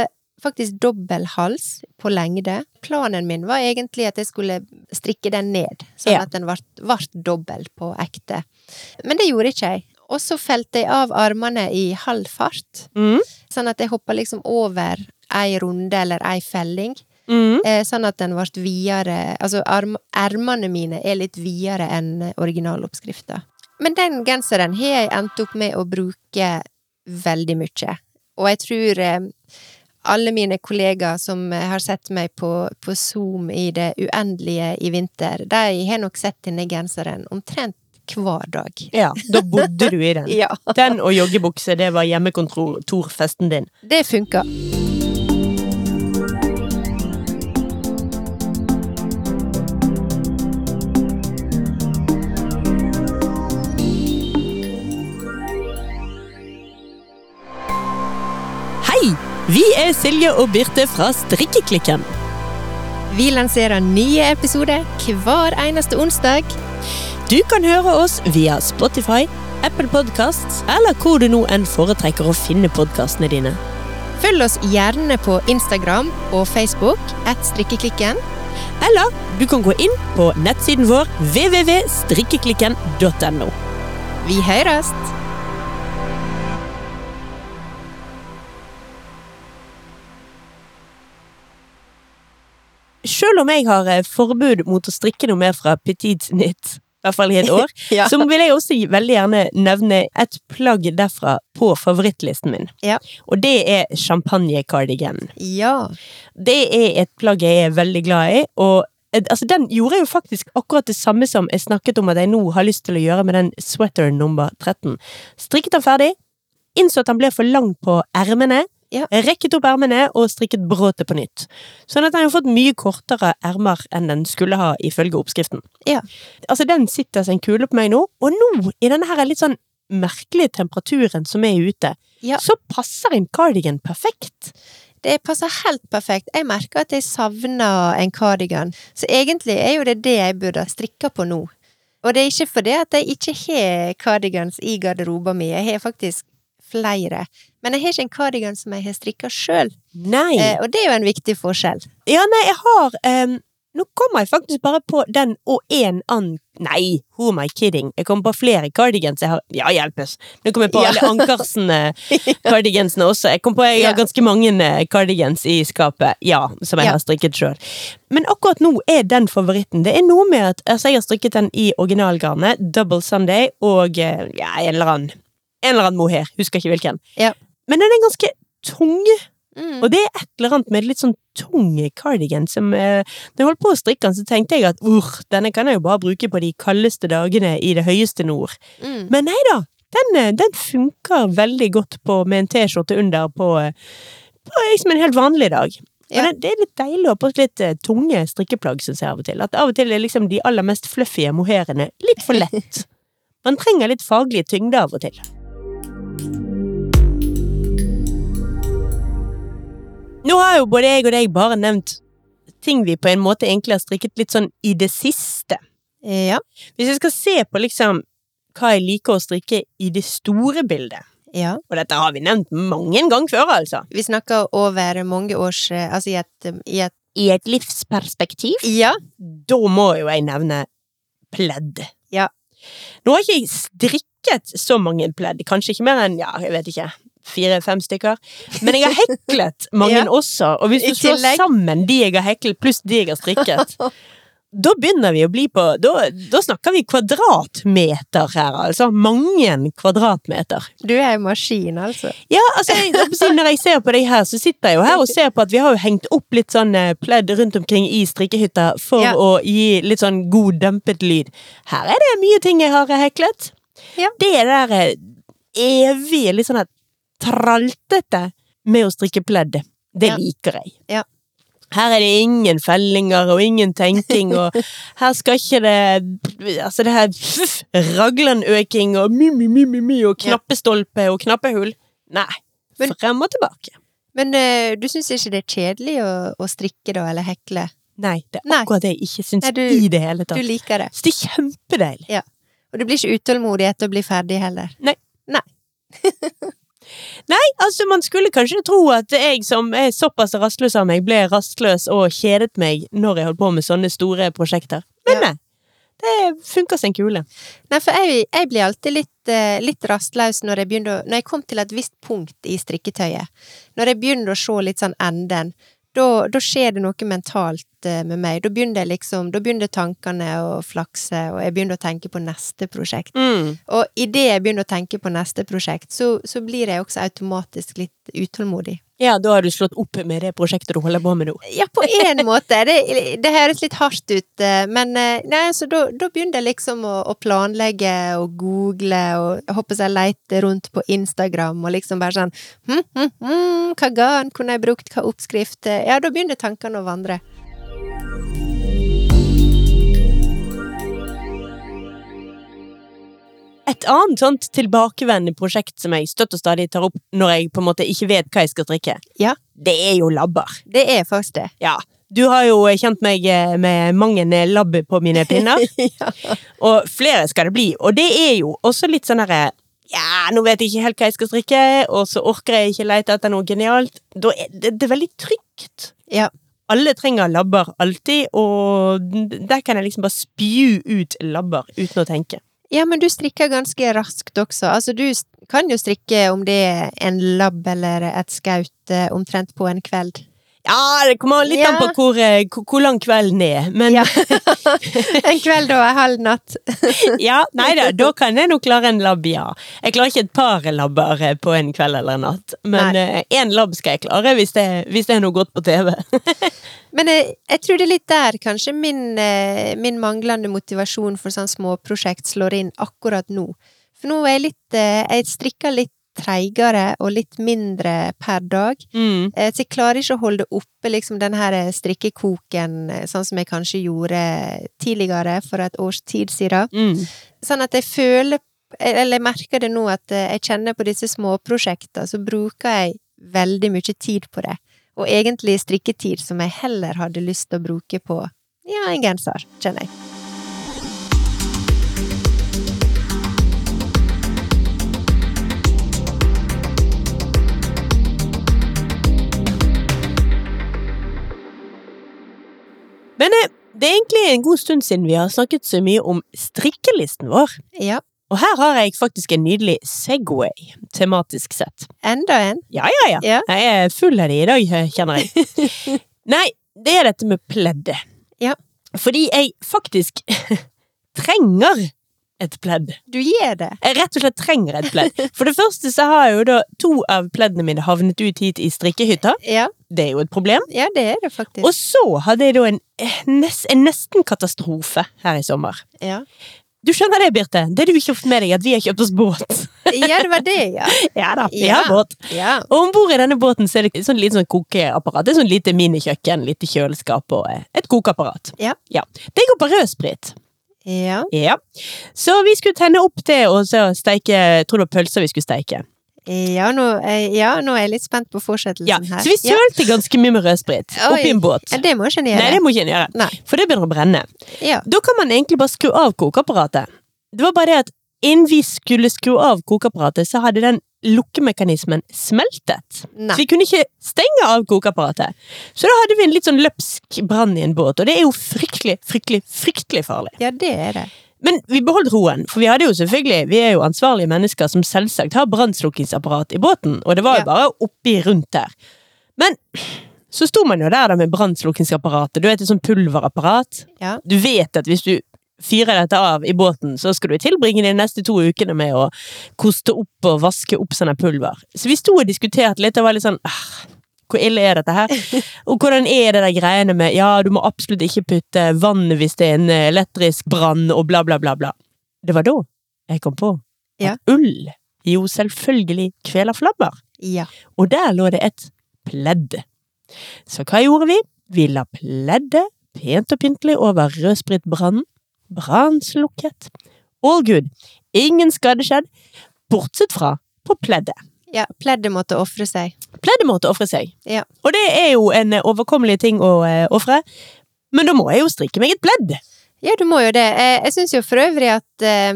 faktisk dobbel hals på lengde. Planen min var egentlig at jeg skulle strikke den ned, sånn
Ja.
at den ble dobbel på ekte. Men det gjorde ikke jeg. Og så felte jeg av armene i halv fart.
Mm.
Sånn at jeg hoppa liksom over ei runde eller ei felling.
Mm.
Eh, sånn at den ble videre Altså arm, ermene mine er litt videre enn originaloppskrifta. Men den genseren har jeg endt opp med å bruke veldig mye. Og jeg tror eh, alle mine kollegaer som eh, har sett meg på, på Zoom i det uendelige i vinter, de har nok sett denne genseren omtrent hver dag.
Ja, da bodde du i den.
Ja.
Den og joggebukse, det var hjemmekontorfesten din.
Det funker.
Hei! Vi er Silje og Birte fra Strikkeklikken.
Vi lanserer nye episoder hver eneste onsdag.
Du kan høre oss via Spotify, Apple Podcasts eller hvor du nå enn foretrekker å finne podkastene dine.
Følg oss gjerne på Instagram og Facebook at strikkeklikken.
Eller du kan gå inn på nettsiden vår www.strikkeklikken.no.
Vi høres!
Selv om jeg har eh, forbud mot å strikke noe mer fra Petit Knit, i hvert fall i et år,
Ja.
så vil jeg også veldig gjerne nevne et plagg derfra på favorittlisten min.
Ja.
Og det er champagnekardigan.
Ja.
Det er et plagg jeg er veldig glad i, og eh, altså, den gjorde jeg jo faktisk akkurat det samme som jeg snakket om at jeg nå har lyst til å gjøre med den sweateren nummer 13. Strikket den ferdig, innså at den ble for lang på ermene,
Ja.
rekket opp ermene og strikket bråtet på nytt. Sånn at den har fått mye kortere ermer enn den skulle ha ifølge oppskriften.
Ja.
Altså, den sitter som en kule på meg nå, og nå, i denne her litt sånn merkelige temperaturen som er ute,
Ja.
så passer en cardigan perfekt.
Det passer helt perfekt. Jeg merker at jeg savner en kardigan. Så egentlig er jo det det jeg burde ha strikka på nå. Og det er ikke fordi at jeg ikke har kardigans i garderoben min. Jeg har faktisk flere. Men jeg har ikke en kardigan som jeg har strikka sjøl.
Nei!
Eh, og det er jo en viktig forskjell.
Ja, nei, jeg har em, Nå kommer jeg faktisk bare på den og en annen Nei, who am I kidding? Jeg kommer på flere cardigans jeg har Ja, hjelpes! Nå kommer jeg på
Ja.
alle Ankersen-cardigansene også. Jeg kom på jeg har
Ja.
ganske mange eh, cardigans i skapet, ja, som jeg
Ja.
har strikket sjøl. Men akkurat nå er den favoritten. Det er noe med at altså, jeg har strikket den i originalgarnet, Double Sunday, og eh, ja, en eller annen En eller annen mohair. Husker ikke hvilken.
Ja.
Men den er ganske tung.
Mm.
Og det er et eller annet med litt sånn tung cardigan som eh, Når jeg holdt på å strikke den, så tenkte jeg at uh, denne kan jeg jo bare bruke på de kaldeste dagene i det høyeste nord.
Mm.
Men nei da! Den, eh, den funker veldig godt på, med en T-skjorte under på, eh, på liksom en helt vanlig dag. Og
Ja.
det, det er litt deilig å ha på litt eh, tunge strikkeplagg, syns jeg av og til. At av og til er liksom de aller mest fluffy mohairene litt for lett. Man trenger litt faglig tyngde av og til. Nå har jo både jeg og deg bare nevnt ting vi på en måte egentlig har strikket litt sånn i det siste.
Ja.
Hvis jeg skal se på liksom hva jeg liker å strikke i det store bildet,
ja.
og dette har vi nevnt mange ganger før, altså
Vi snakker over mange års eh, Altså i et, i et
I et livsperspektiv?
Ja.
Da må jo jeg nevne pledd.
Ja.
Nå har ikke jeg strikket så mange pledd, kanskje ikke mer enn ja, jeg vet ikke, fire-fem stykker. Men jeg har heklet mange
Ja.
også, og hvis
I
du slår
tillegg.
sammen de jeg har heklet pluss de jeg har strikket, da begynner vi å bli på Da, da snakker vi kvadratmeter her, altså. Mange kvadratmeter.
Du er en maskin, altså.
Ja, altså, jeg, jeg må si, når jeg ser på deg her, så sitter jeg jo her og ser på at vi har jo hengt opp litt sånn eh, pledd rundt omkring i strikkehytta for
Ja.
å gi litt sånn god dempet lyd. Her er det mye ting jeg har eh, heklet.
Ja.
Det der eh, evige, litt sånn her traltete med å strikke pledd, det
Ja.
liker jeg.
Ja.
Her er det ingen fellinger og ingen tenking, og her skal ikke det Altså, det her pff, raglanøking og mi-mi-mi-mi og
Ja.
knappestolpe og knappehull. Nei.
Men-
Frem og tilbake.
Men eh, du syns ikke det er kjedelig å, å strikke, da, eller hekle?
Nei, det er
Nei.
akkurat det jeg ikke syns
Nei, du-
i det hele
Du
tatt.
liker det.
Så det er kjempedeilig.
Og du blir ikke utålmodig etter å bli ferdig heller.
Nei, altså, man skulle kanskje tro at jeg som er såpass rastløs av meg, ble rastløs og kjedet meg når jeg holdt på med sånne store prosjekter. Men
Ja.
nei. Det funker som en kule.
Nei, for jeg, jeg blir alltid litt, eh, litt rastløs når jeg begynner å Når jeg kom til et visst punkt i strikketøyet, når jeg begynner å se litt sånn enden, da da skjer det noe mentalt eh, med meg. Da begynner jeg liksom, da begynner tankene å flakse, og jeg begynner å tenke på neste prosjekt.
Mm.
Og idet jeg begynner å tenke på neste prosjekt, så, så blir jeg også automatisk litt utålmodig.
Ja, da har du slått opp med det prosjektet du holder på med nå.
Ja, på en måte. Det, det høres litt hardt ut, eh, men eh, nei, så da, da begynner jeg liksom å, å planlegge og google og jeg håper jeg leter rundt på Instagram og liksom bare sånn hm, hm, hm, Hva garn kunne jeg brukt, hva oppskrift eh, Ja, da begynner tankene å vandre.
Et annet sånt tilbakevendende prosjekt som jeg støtt og stadig tar opp når jeg på en måte ikke vet hva jeg skal strikke,
Ja.
det er jo labber.
Det er faktisk det.
Ja. Du har jo kjent meg eh, med mange labb på mine pinner,
ja.
og flere skal det bli. Og det er jo også litt sånn herre Ja, nå vet jeg ikke helt hva jeg skal strikke, og så orker jeg ikke lete etter noe genialt. Da er det, det er veldig trygt.
Ja.
Alle trenger labber alltid, og der kan jeg liksom bare spy ut labber uten å tenke.
ja, men du strikker ganske raskt også. Altså, du s- kan jo strikke om det er en labb eller et skaut eh, omtrent på en kveld.
Ja, det kommer litt an på
Ja.
hvor, eh, hvor, hvor lang kvelden er, men
Ja. en kveld og en halv natt.
Ja, nei da, da kan jeg nok klare en labb, ja. Jeg klarer ikke et par labber eh, på en kveld eller en natt, men én labb skal jeg klare hvis det, hvis det er noe godt på TV.
Men jeg, jeg tror det er litt der kanskje min, eh, min manglende motivasjon for sånn småprosjekt slår inn akkurat nå. For nå er jeg litt eh, Jeg strikker litt treigere og litt mindre per dag.
Mm.
Eh, Så jeg klarer ikke å holde oppe liksom den her eh, strikkekoken eh, sånn som jeg kanskje gjorde tidligere, for et års tid siden
Mm.
sånn at jeg føler Eller jeg merker det nå at eh, jeg kjenner på disse småprosjektene, så bruker jeg veldig mye tid på det. Og egentlig strikketid som jeg heller hadde lyst til å bruke på ja, en genser, kjenner jeg.
Men eh, Det er egentlig en god stund siden vi har snakket så mye om strikkelisten vår.
Ja,
Og her har jeg faktisk en nydelig Segway, tematisk sett.
enda en.
Ja, ja, ja.
Ja.
Jeg er full av det i dag, eh, kjenner jeg. Nei, det er dette med pleddet.
Ja.
Fordi jeg faktisk trenger et pledd.
Du gir det.
Jeg rett og slett trenger et pledd. For det første så har jeg jo da to av pleddene mine havnet ut hit i strikkehytta.
Ja,
Det er jo et problem.
ja det er det faktisk.
Og så hadde jeg da en, eh, nes- en nesten katastrofe her i sommer.
Ja.
Du skjønner det, Birte? Det du ikke har fått med deg, er at vi har kjøpt oss båt.
ja, det var det, ja.
Ja da, vi
Ja.
har båt.
Ja.
Og om bord i denne båten så er det et sånn lite sånn kokeapparat. Det er sånn lite minikjøkken, lite kjøleskap og eh, et kokeapparat.
Ja.
Det går på rødsprit.
Ja.
Ja. Så vi skulle tenne opp det og så steike Jeg tror det var pølser vi skulle steike.
Ja, nå, eh, ja, nå er jeg litt spent på fortsettelsen
Ja.
Sånn her.
Så vi
ja.
sølte ganske mye med rødsprit
Oi.
oppi en båt.
Ja, det må ikke en
Nei, det
gjøre.
må ikke en gjøre.
Nei.
For det begynner å brenne.
Ja.
Da kan man egentlig bare skru av kokeapparatet. Det var bare det at innen vi skulle skru av kokeapparatet, så hadde den lukkemekanismen smeltet.
Nei.
Så vi kunne ikke stenge av kokeapparatet. Så da hadde vi en litt sånn løpsk brann i en båt, og det er jo fryktelig, fryktelig, fryktelig farlig.
ja, det er det.
Men vi beholdt roen, for vi hadde jo selvfølgelig, vi er jo ansvarlige mennesker som selvsagt har brannslukkingsapparat i båten, og det var jo
Ja.
bare oppi rundt der. Men så sto man jo der da med brannslukningsapparatet, du vet et sånt pulverapparat.
Ja.
Du vet at hvis du fyrer dette av i båten, så skal du tilbringe de neste to ukene med å koste opp og vaske opp sånne pulver. Så vi sto og diskuterte litt, og var litt sånn «Ah, hvor ille er dette her? Og hvordan er det der greiene med ja, du må absolutt ikke putte vann hvis det er en eh, elektrisk brann, og bla, bla, bla, bla. Det var da jeg kom på at
Ja.
ull jo selvfølgelig kveler flammer.
Ja.
Og der lå det et pledd. Så hva gjorde vi? Vi la pleddet pent og pyntelig over rødspritbrannen. Brann slukket. All good. Ingen skade skjedd, bortsett fra på pleddet.
ja. Pleddet måtte ofre seg.
Pleddet måtte ofre seg.
Ja.
Og det er jo en eh, overkommelig ting å eh, ofre. Men da må jeg jo strikke meg et pledd.
Ja, du må jo det. Eh, Jeg syns jo for øvrig at eh,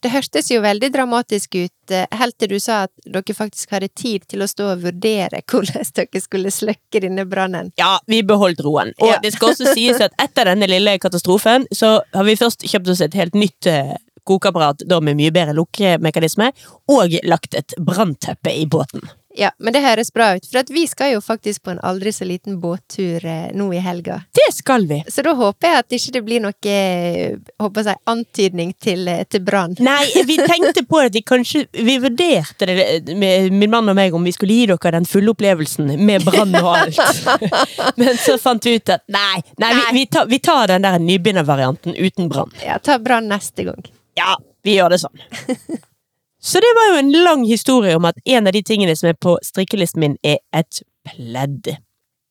det hørtes jo veldig dramatisk ut eh, helt til du sa at dere faktisk hadde tid til å stå og vurdere hvordan dere skulle slukke denne brannen.
Ja, vi beholdt roen. Og
Ja.
det skal også sies at etter denne lille katastrofen, så har vi først kjøpt oss et helt nytt eh, kokeapparat, da med mye bedre lukkemekanisme, og lagt et brannteppe i båten.
Ja, men det høres bra ut, for at vi skal jo faktisk på en aldri så liten båttur eh, nå i helga.
Det skal vi.
Så da håper jeg at ikke det blir noe eh, håper jeg, antydning til, eh, til brann.
Nei, vi tenkte på at vi kanskje Vi vurderte det, med min mann og meg, om vi skulle gi dere den fulle opplevelsen med brann og alt. Men så fant vi ut at nei, nei vi,
Nei.
vi, tar, vi tar den der nybegynnervarianten uten brann.
Ja, ta brann neste gang.
Ja, vi gjør det sånn. Så det var jo en lang historie om at en av de tingene som er på strikkelisten min, er et pledd.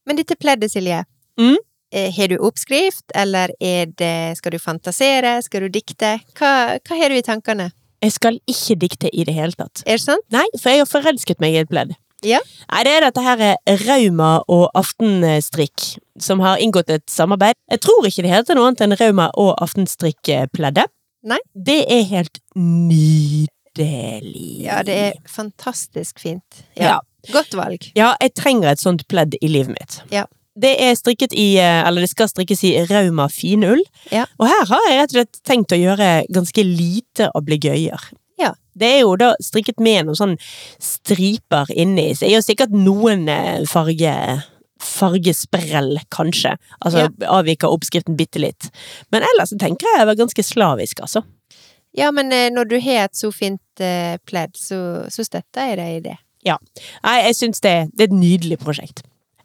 Men dette pleddet, Silje.
Mm.
eh, Har du oppskrift, eller er det, skal du fantasere, skal du dikte? Hva, hva har du i tankene?
Jeg skal ikke dikte i det hele tatt.
Er det sant?
Nei, for jeg har forelsket meg i et pledd.
Ja.
Nei, det er dette her eh, Rauma og Aftenstrikk som har inngått et samarbeid. Jeg tror ikke det heter noe annet enn Rauma og Aftenstrikk-pleddet.
Nei.
Det er helt nydelig.
Ja, det er fantastisk fint.
Ja.
Mm. Ja. Godt valg.
Ja, jeg trenger et sånt pledd i livet mitt.
Ja.
Det er strikket i, eh, eller det skal strikkes i Rauma finull.
Ja.
Og her har jeg rett og slett tenkt å gjøre ganske lite ablegøyer.
Ja.
Det er jo da strikket med noen sånn striper inni. Så jeg gjør sikkert noen eh, farge fargesprell, kanskje. Altså avviker oppskriften bitte litt. Men ellers så tenker jeg jeg var ganske slavisk, altså.
Ja, men eh, når du har et så fint eh, pledd, så, så støtter jeg deg i det.
Nei, jeg syns det, det er et nydelig prosjekt.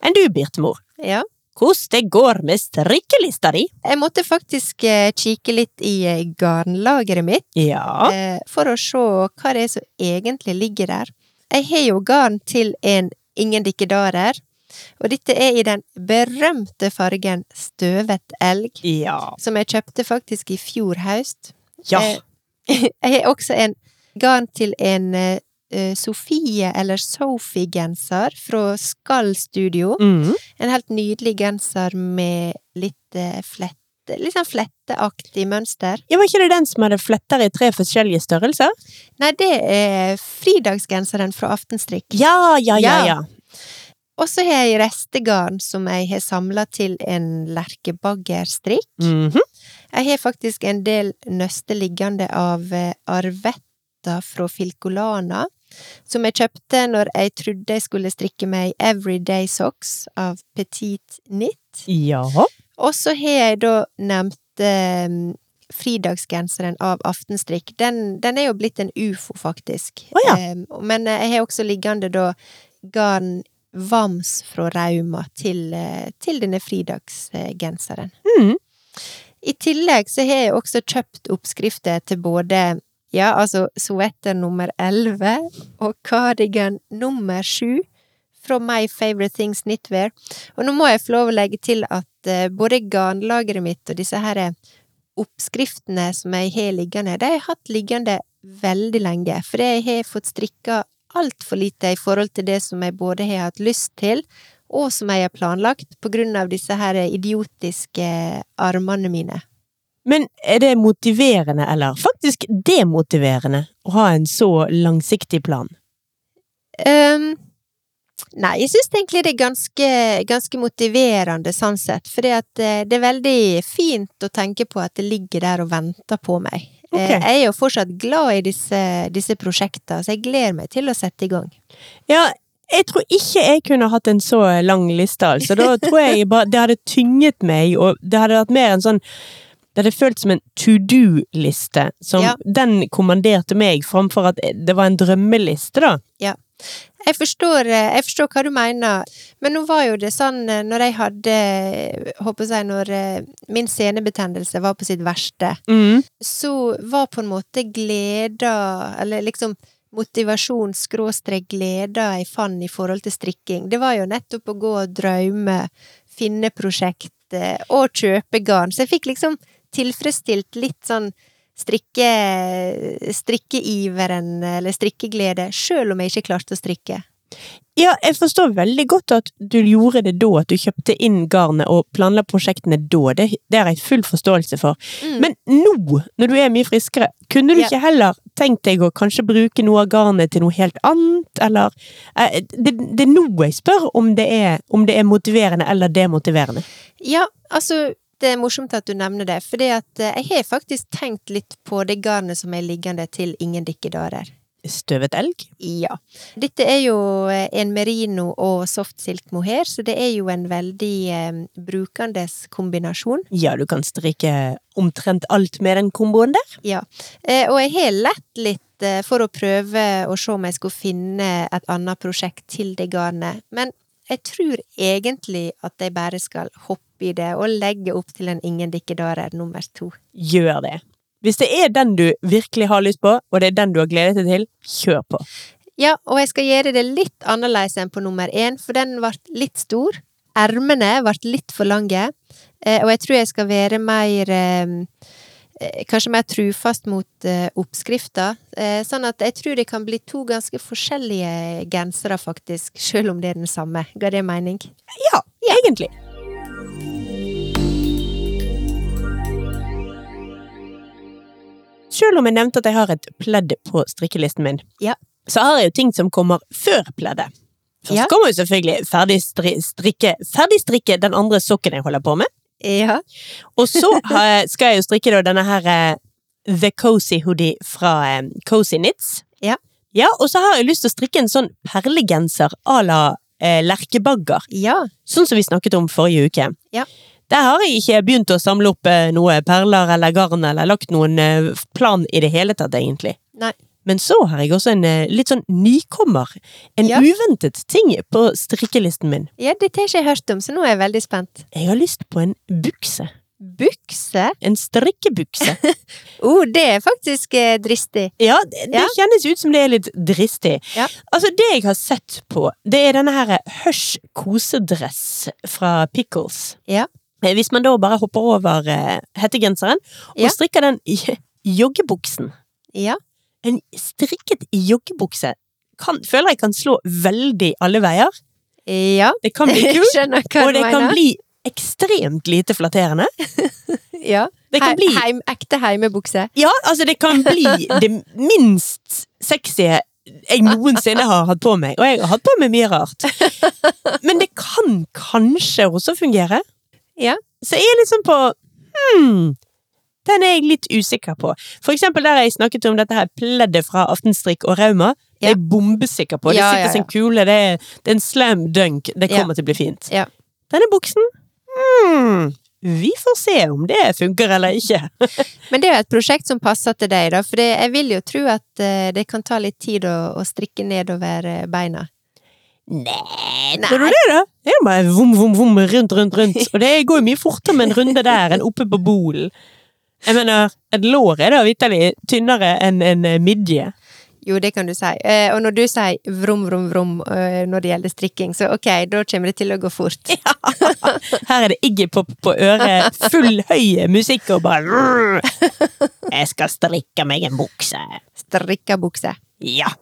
Enn du, Birtemor?
Ja.
Hvordan det går med strikkelista di?
Jeg måtte faktisk eh, kikke litt i eh, garnlageret mitt.
Ja.
eh, for å se hva det er som egentlig ligger der. Jeg har jo garn til en ingen dikkedarer, og dette er i den berømte fargen støvet elg,
Ja.
som jeg kjøpte faktisk i fjor høst.
ja.
Eh, Jeg har også en garn til en eh, eh, Sofie eller Sophie-genser fra Skall Studio.
Mm.
En helt nydelig genser med litt eh, flette, litt sånn fletteaktig mønster.
Ja, Var ikke det den som hadde fletter i tre forskjellige størrelser?
Nei, det er fridagsgenseren fra Aftenstrikk.
Ja, ja, ja.
Ja.
ja.
Og så har jeg restegarn som jeg har samla til en lerkebaggerstrikk.
Mhm.
Jeg har faktisk en del nøster liggende av eh, arvetta fra Filcolana, som jeg kjøpte når jeg trodde jeg skulle strikke meg Everyday Socks av Petit Knit.
Ja.
Og så har jeg da nevnt eh, fridagsgenseren av Aftenstrikk. Den, den er jo blitt en ufo, faktisk.
Å ja.
Eh, men eh, jeg har også liggende da garn Vams fra Rauma til, eh, til denne fridagsgenseren.
Mhm.
I tillegg så har jeg også kjøpt oppskrifter til både ja, altså sweater nummer 11 og cardigan nummer 7 fra My Favorite Things Knitwear. Og nå må jeg få lov å legge til at eh, både garnlageret mitt og disse her eh, oppskriftene som jeg har liggende, de har jeg hatt liggende veldig lenge, for jeg har fått strikka altfor lite i forhold til det som jeg både har hatt lyst til, og som jeg har planlagt, på grunn av disse her eh, idiotiske eh, armene mine.
Men er det motiverende, eller faktisk demotiverende, å ha en så langsiktig plan?
Ehm, nei, jeg syns egentlig det er ganske, ganske motiverende, sånn sett. For det er veldig fint å tenke på at det ligger der og venter på meg.
Ok.
Eh, Jeg er jo fortsatt glad i disse, disse prosjektene, så jeg gleder meg til å sette i gang.
Ja, jeg tror ikke jeg kunne hatt en så lang liste, altså. Da tror jeg bare det hadde tynget meg, og det hadde vært mer en sånn det hadde føltes som en to do-liste, som
Ja.
den kommanderte meg, framfor at det var en drømmeliste, da.
Jeg forstår, eh, jeg forstår hva du mener, men nå var jo det sånn eh, når jeg hadde eh, Håper jeg når eh, min senebetennelse var på sitt verste,
Mm.
så var på en måte gleda, eller liksom motivasjon skråstrek gleda jeg fant i forhold til strikking, det var jo nettopp å gå og drømme, finne prosjekt eh, og kjøpe garn. Så jeg fikk liksom tilfredsstilt litt sånn strikke, strikkeiveren, eller strikkeglede, sjøl om jeg ikke klarte å strikke.
Ja, jeg forstår veldig godt at du gjorde det da, at du kjøpte inn garnet og planla prosjektene da. Det, det har jeg full forståelse for.
Mm.
Men nå, når du er mye friskere, kunne du
Ja.
ikke heller tenkt deg å kanskje bruke noe av garnet til noe helt annet, eller eh, det, det er nå jeg spør om det, er, om det er motiverende eller demotiverende.
Ja, altså det er morsomt at du nevner det, for jeg har faktisk tenkt litt på det garnet som er liggende til Ingen dikkedarer.
Støvet elg?
Ja. Dette er jo eh, en merino og soft silk mohair, så det er jo en veldig eh, brukandes kombinasjon.
Ja, du kan strikke omtrent alt med den komboen der.
Eh, og jeg har lett litt eh, for å prøve å se om jeg skulle finne et annet prosjekt til det garnet, men jeg tror egentlig at jeg bare skal hoppe i det og legge opp til en ingen dikkedarer nummer to.
Gjør det. Hvis det er den du virkelig har lyst på, og det er den du har gledet deg til, kjør på.
Ja, og jeg skal gjøre det litt annerledes enn på nummer én, for den ble litt stor. Ermene ble litt for lange, eh, og jeg tror jeg skal være mer eh, eh, Kanskje mer trufast mot eh, oppskrifta. Eh, sånn at jeg tror det kan bli to ganske forskjellige gensere, faktisk, sjøl om det er den samme. Ga det mening?
Ja, egentlig. Selv om jeg nevnte at jeg har et pledd på strikkelisten min,
Ja.
så har jeg jo ting som kommer før pleddet. Først
Ja.
kommer jo selvfølgelig ferdig stri strikke, ferdig strikke den andre sokken jeg holder på med.
Ja.
Og så har jeg- skal jeg jo strikke da denne her eh, The Cozy Hoodie fra eh, Cozy Knits.
Ja.
Ja, og så har jeg lyst til å strikke en sånn perlegenser à la eh, lerkebagger
Ja.
sånn som vi snakket om forrige uke.
Ja.
Der har jeg ikke begynt å samle opp eh, noe perler eller garn eller lagt noen eh, plan i det hele tatt, egentlig.
Nei.
Men så har jeg også en eh, litt sånn nykommer, en
Ja.
uventet ting på strikkelisten min.
ja, dette har ikke jeg hørt om, så nå er jeg veldig spent.
Jeg har lyst på en bukse.
Bukse?
En strikkebukse.
Å, oh, det er faktisk eh, dristig.
Ja, det, det
Ja.
kjennes ut som det er litt dristig.
Ja.
Altså, det jeg har sett på, det er denne her Hush kosedress fra Pickles.
Ja.
Eh, Hvis man da bare hopper over eh, hettegenseren og
Ja.
strikker den i- joggebuksen.
Ja.
En strikket joggebukse kan, føler jeg kan slå veldig alle veier.
Ja.
Det kan bli
Jeg
kult,
skjønner hva
og
du
det kan
mener.
bli ekstremt lite flatterende.
Ja.
Det kan
Hei-
bli
heim, ekte heimebukse.
Ja, altså det kan bli det minst sexy jeg noensinne har hatt på meg. Og jeg har hatt på meg mye rart. Men det kan kanskje også fungere.
Ja.
Så jeg er liksom på hmm, Den er jeg litt usikker på. For eksempel der jeg snakket om dette her pleddet fra Aftenstrikk og Rauma. Det er jeg bombesikker på. Det
Ja,
sitter
ja, ja.
som en kule. Det er, det er en slam dunk. Det
Ja.
kommer til å bli fint.
Ja.
Denne buksen hmm, Vi får se om det funker eller ikke.
Men det er jo et prosjekt som passer til deg, da. For det, jeg vil jo tro at eh, det kan ta litt tid å, å strikke nedover eh, beina.
Nei,
nei.
Eh, tror du det, da? Det er jo bare vom, vom, vom, rundt, rundt, rundt. Og det går jo mye fortere med en runde der enn oppe på bolen. Jeg mener, et lår er da vitterlig tynnere enn en eh, midje.
Jo, det kan du si. Eh, og når du sier vrom, vrom, vrom eh, når det gjelder strikking, så ok, da kommer det til å gå fort.
Her er det Iggy Pop på øret, full høy musikk og bare "Rrr, Jeg skal strikke meg en bukse.
Strikka bukse.
Ja.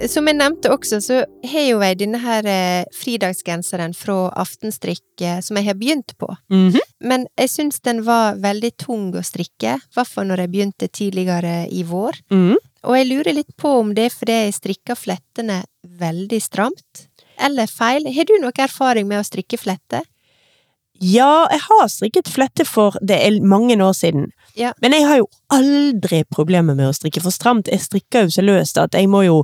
Eh, Som jeg nevnte også, så har jo jeg denne her eh, fridagsgenseren fra Aftenstrikk eh, som jeg har begynt på.
Mhm.
Men jeg syns den var veldig tung å strikke, i hvert fall når jeg begynte tidligere i vår.
Mhm.
Og jeg lurer litt på om det er fordi jeg strikker flettene veldig stramt, eller feil. Har du noe erfaring med å strikke fletter?
Ja, jeg har strikket flette for det er mange år siden.
Ja.
Men jeg har jo aldri problemer med å strikke for stramt. Jeg strikker jo så løst at jeg må jo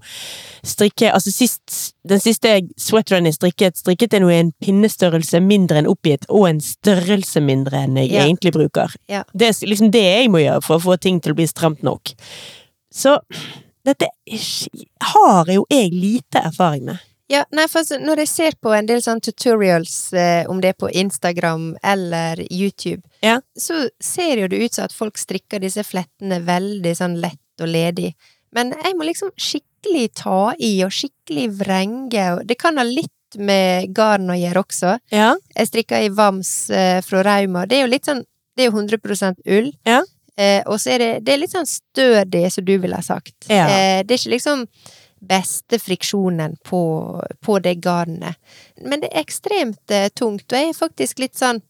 strikke Altså, sist, den siste sweateren jeg strikket, strikket jeg nå i en pinnestørrelse mindre enn oppgitt, og en størrelse mindre enn jeg
Ja.
egentlig bruker.
Ja.
Det er liksom det jeg må gjøre for å få ting til å bli stramt nok. Så dette har jo jeg lite erfaring med.
Ja, nei, for altså, når jeg ser på en del sånne tutorials, eh, om det er på Instagram eller YouTube,
Ja.
så ser jo det ut som at folk strikker disse flettene veldig sånn lett og ledig. Men jeg må liksom skikkelig ta i, og skikkelig vrenge, og det kan ha litt med garn å gjøre også.
Ja.
Jeg strikka i Vams eh, fra Rauma. Det er jo litt sånn Det er jo 100 ull.
Ja.
Eh, og så er det, det er litt sånn stødig, som du ville ha sagt.
Ja.
Eh, det er ikke liksom beste friksjonen på, på det garnet. Men det er ekstremt eh, tungt, og jeg er faktisk litt sånn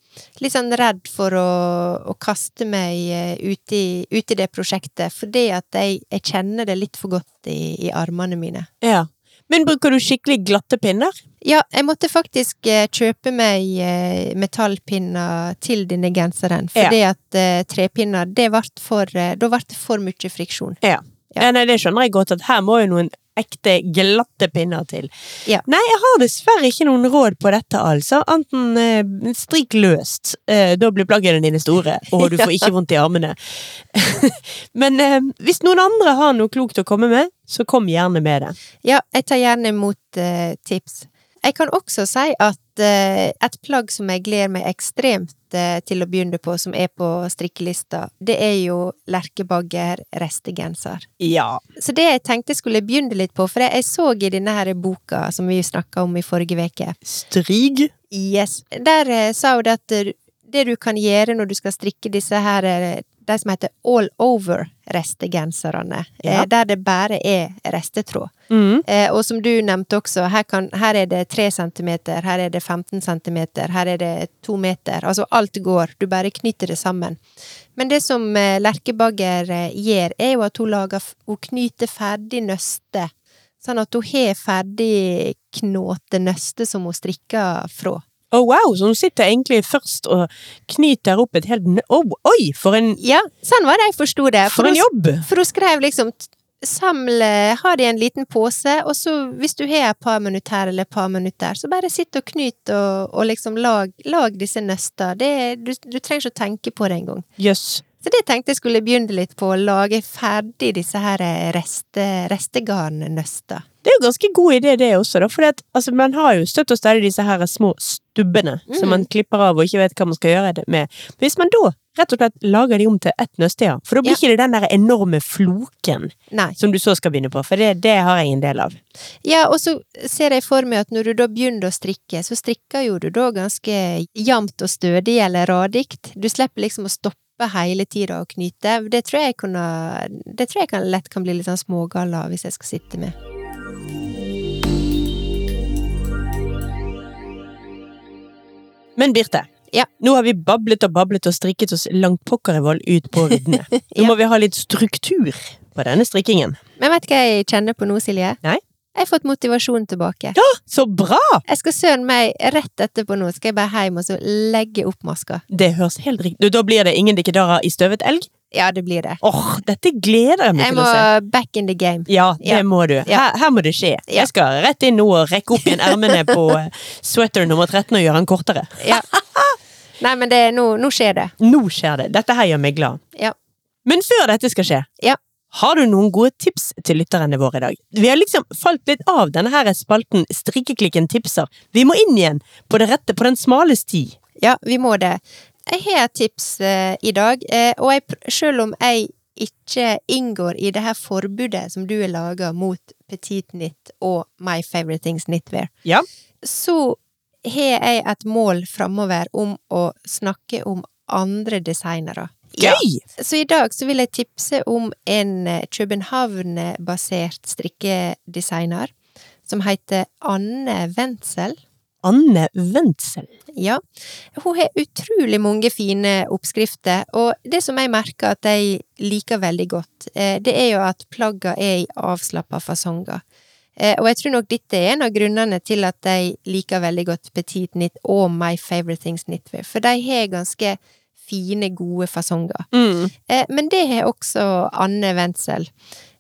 Litt sånn redd for å, å kaste meg eh, ut i, ut i det prosjektet, fordi at jeg, jeg kjenner det litt for godt i, i armene mine.
ja. Men bruker du skikkelig glatte pinner?
Ja, jeg måtte faktisk eh, kjøpe meg eh, metallpinner til denne genseren,
Ja.
fordi at eh, trepinner, det vart for, eh, da ble det for mye friksjon. Ja.
Ja. Eh, Nei, det skjønner jeg godt, at her må jo noen ekte glatte pinner til.
Ja.
Nei, jeg har dessverre ikke noen råd på dette, altså. Anten eh, strik løst, eh, da blir plaggene dine store, og du får ikke vondt i armene. Men eh, hvis noen andre har noe klokt å komme med, så kom gjerne med det.
Ja, jeg tar gjerne imot eh, tips. Jeg kan også si at eh, et plagg som jeg gleder meg ekstremt eh, til å begynne på, som er på strikkelista, det er jo lerkebagger restegenser.
Ja.
Så det jeg tenkte jeg skulle begynne litt på, for jeg, jeg så i denne her boka som vi snakka om i forrige uke,
Strig.
Yes. Der eh, sa hun det at eh, det du kan gjøre når du skal strikke disse her eh, de som heter all over-restegenserne,
Ja.
eh, der det bare er restetråd.
Mm.
Eh, og som du nevnte også, her, kan, her er det 3 centimeter, her er det 15 centimeter, her er det 2 meter. Altså alt går, du bare knyter det sammen. Men det som eh, Lerkebagger eh, gjør, er jo at hun, lager, f- hun knyter ferdig nøste. Sånn at hun har ferdig knåte nøste som hun strikker fra.
Å wow, så hun sitter egentlig først og knyter opp et helt nø... Å, oi, for en,
Ja, sånn var det jeg forsto det.
for en
hun-
jobb!
For hun skrev liksom t- Samle, ha det i en liten pose, og så hvis du har et par minutter her eller et par minutter, så bare sitt og knyt og, og liksom lag, lag disse nøster. Det, du, du trenger ikke å tenke på det engang.
Jøss.
Så det tenkte jeg skulle begynne litt på, å lage ferdig disse her eh, reste, restegarnnøster.
Det er jo ganske god idé det også, da, for altså, man har jo støtt og stadig disse her små stubbene som
Mm.
man klipper av og ikke vet hva man skal gjøre det med. Men hvis man da rett og slett lager de om til ett nøste, ja, for da blir
Ja.
ikke det den der enorme floken
Nei.
som du så skal begynne på, for det, det har jeg en del av.
Ja, og så ser jeg for meg at når du da begynner å strikke, så strikker jo du da ganske jevnt og stødig eller radikt. Du slipper liksom å stoppe hele tida og knyte. Det tror jeg, kunne, det tror jeg kan, lett kan bli litt sånn smågalla hvis jeg skal sitte med.
Men Birte,
Ja.
nå har vi bablet og bablet og strikket oss langt pokkerevoll ut på riddene. Nå må vi ha litt struktur på denne strikkingen.
Men vet du hva jeg kjenner på nå, Silje?
Nei.
Jeg har fått motivasjon tilbake.
Så bra!
Jeg skal søren meg rett etterpå nå, skal jeg bare hjem og så legge opp maska.
Det høres helt riktig Du, Da blir det ingen dikkedarer i støvet elg?
Ja, det blir det.
Åh, dette gleder jeg meg
Jeg
til
må
å se.
back in the game.
Ja, det
Ja.
må du.
Ja.
Her, her må det skje.
Ja.
Jeg skal rett inn nå og rekke opp igjen ermene på eh, sweater nummer 13 og gjøre den kortere.
Ja. Nei, men det, nå, nå skjer det.
Nå skjer det. Dette her gjør meg glad.
Ja.
Men før dette skal skje,
Ja.
har du noen gode tips til lytterne våre i dag? Vi har liksom falt litt av denne her spalten Strikkeklikken tipser. Vi må inn igjen på det rette, på den smale sti.
Ja, vi må det. Jeg har et tips eh, i dag, eh, og jeg, pr- selv om jeg ikke inngår i det her forbudet som du har laga mot Petit Knit og My Favorite Things Knitwear,
Ja.
så har jeg et mål framover om å snakke om andre designere.
Gøy!
Så i dag så vil jeg tipse om en eh, København-basert strikkedesigner som heter Anne Wenzel.
Anne Wendsel.
Ja. Hun har utrolig mange fine oppskrifter, og det som jeg merker at jeg liker veldig godt, eh, det er jo at plagga er i avslappa fasonger. Eh, Og jeg tror nok dette er en av grunnene til at jeg liker veldig godt Petit Knit og My Favorite Things Knitwear, for de har ganske fine, gode fasonger.
Mm.
Eh, Men det har også Anne Wendsel.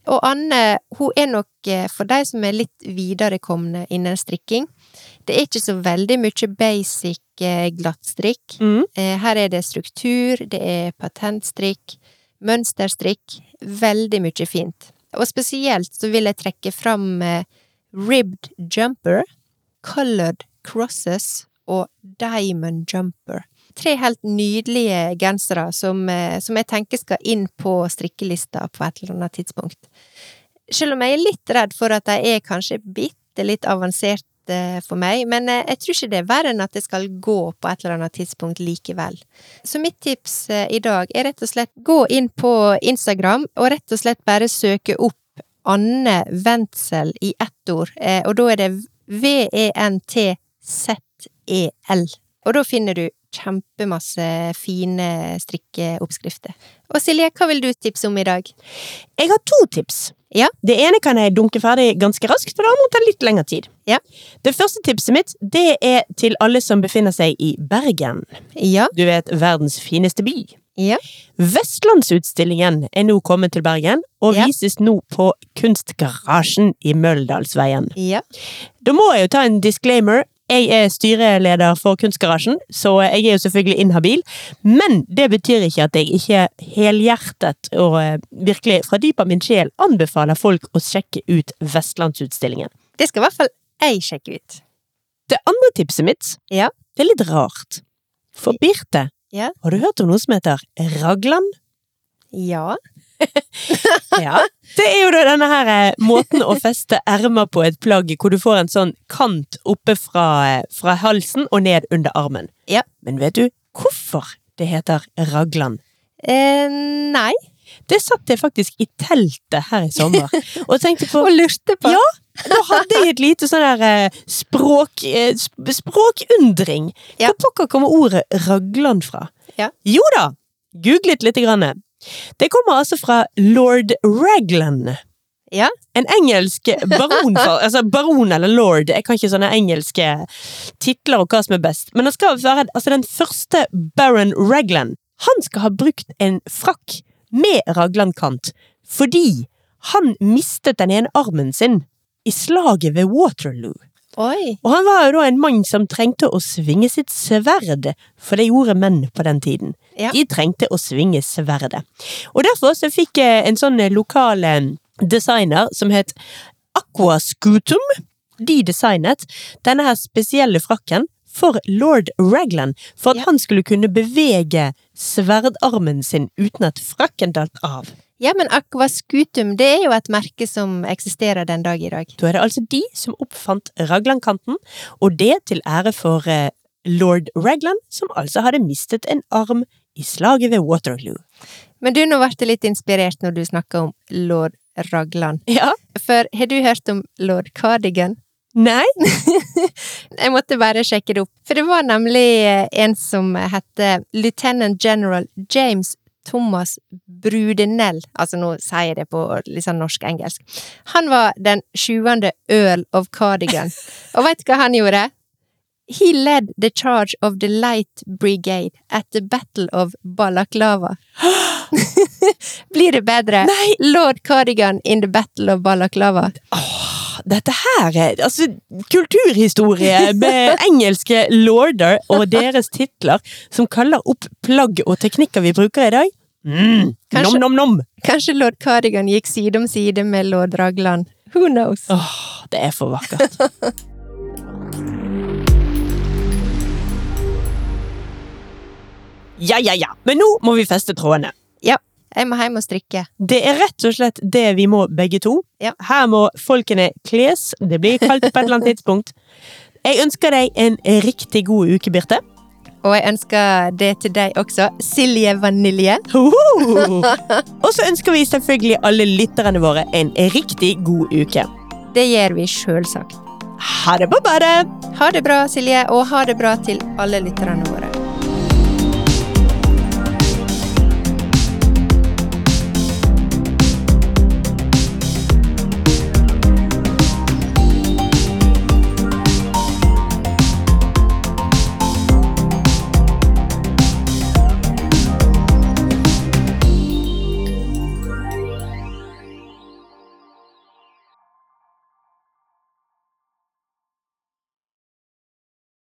Og Anne hun er nok, eh, for de som er litt viderekomne innen strikking Det er ikke så veldig mye basic eh, glattstrikk.
Mm.
Eh, Her er det struktur, det er patentstrikk, mønsterstrikk. Veldig mye fint. Og spesielt så vil jeg trekke fram eh, ribbed jumper, colored crosses og diamond jumper. Tre helt nydelige gensere som, eh, som jeg tenker skal inn på strikkelista på et eller annet tidspunkt. Selv om jeg er litt redd for at de er kanskje bitte litt avanserte for meg, men eh, jeg tror ikke det er verre enn at det skal gå på et eller annet tidspunkt likevel. Så mitt tips eh, i dag er rett og slett gå inn på Instagram og rett og slett bare søke opp Anne Wendsel i ett ord, eh, og da er det E V-E-N-T-Z-E-L. Og da finner du kjempemasse fine strikkeoppskrifter. Og Silje, hva vil du tipse om i dag?
Jeg har to tips.
Ja.
Det ene kan jeg dunke ferdig ganske raskt, og det andre tar litt lengre tid.
Ja.
Det første tipset mitt det er til alle som befinner seg i Bergen.
Ja,
Du vet, verdens fineste by.
ja,
Vestlandsutstillingen er nå kommet til Bergen, og
Ja.
vises nå på Kunstgarasjen i Møldalsveien.
ja.
Da må jeg jo ta en disclaimer. Jeg er styreleder for Kunstgarasjen, så jeg er jo selvfølgelig inhabil. Men det betyr ikke at jeg ikke helhjertet og eh, virkelig fra dypet av min sjel anbefaler folk å sjekke ut Vestlandsutstillingen.
Det skal i hvert fall jeg sjekke ut.
Det andre tipset mitt,
Ja.
det er litt rart. For Birte,
Ja.
har du hørt om noe som heter Ragland?
Ja.
Ja. Det er jo da denne her eh, måten å feste ermer på et plagg, hvor du får en sånn kant oppe fra, eh, fra halsen og ned under armen.
Ja.
Men vet du hvorfor det heter raglan?
Eh, nei.
Det satt jeg faktisk i teltet her i sommer og tenkte på.
Og lurte på.
Ja, da hadde jeg et lite sånn der eh, språk, eh, sp språkundring.
Ja.
Hvor pokker kommer ordet raglan fra?
Ja.
Jo da, googlet litt. Grann. Det kommer altså fra lord Raglan.
Ja.
En engelsk baron, for, altså baron eller lord, jeg kan ikke sånne engelske titler og hva som er best, men han skal være altså den første baron Raglan. Han skal ha brukt en frakk med raglankant, fordi han mistet den ene armen sin i slaget ved Waterloo.
Oi.
Og han var jo da en mann som trengte å svinge sitt sverd, for det gjorde menn på den tiden.
Ja.
De trengte å svinge sverdet. Og derfor så fikk eh, en sånn eh, lokal eh, designer som het Aquascutum, de designet denne her spesielle frakken for lord Raglan, for at
Ja.
han skulle kunne bevege sverdarmen sin uten at frakken datt av.
Ja, men Aquascutum, det er jo et merke som eksisterer den dag i dag.
Da er det altså de som oppfant Raglan-kanten, og det til ære for eh, lord Raglan, som altså hadde mistet en arm i slaget ved Waterloo.
Men du, nå ble jeg litt inspirert når du snakka om lord Ragland.
Ja,
For har du hørt om lord Cardigan?
Nei?
Jeg måtte bare sjekke det opp. For det var nemlig eh, en som hette Lieutenant General James Thomas Brudenell. Altså, nå sier jeg det på litt sånn norsk-engelsk. Han var den sjuende Earl of Cardigan. Og veit du hva han gjorde? He led the charge of the Light Brigade at the Battle of Balaklava. Blir det bedre?
Nei!
Lord Cardigan in the Battle of Balaklava.
Dette her er altså, kulturhistorie med engelske lorder og deres titler som kaller opp plagg og teknikker vi bruker i dag. Mm.
Kanskje-
Nom-nom-nom!
Kanskje lord Cardigan gikk side om side med lord Ragland. Who knows?
Åh, det er for vakkert. Ja, ja, ja. Men nå må vi feste trådene.
Jeg må hjem og strikke.
Det er rett og slett det vi må begge to.
Ja.
Her må folkene kles. Det blir kaldt på et eller annet tidspunkt. Jeg ønsker deg en riktig god uke, Birte.
Og jeg ønsker det til deg også. Silje Vanilje.
Hoho! Og så ønsker vi selvfølgelig alle lytterne våre en riktig god uke.
Det gjør vi sjølsagt.
Ha det på badet!
Ha det bra, Silje, og ha det bra til alle lytterne våre.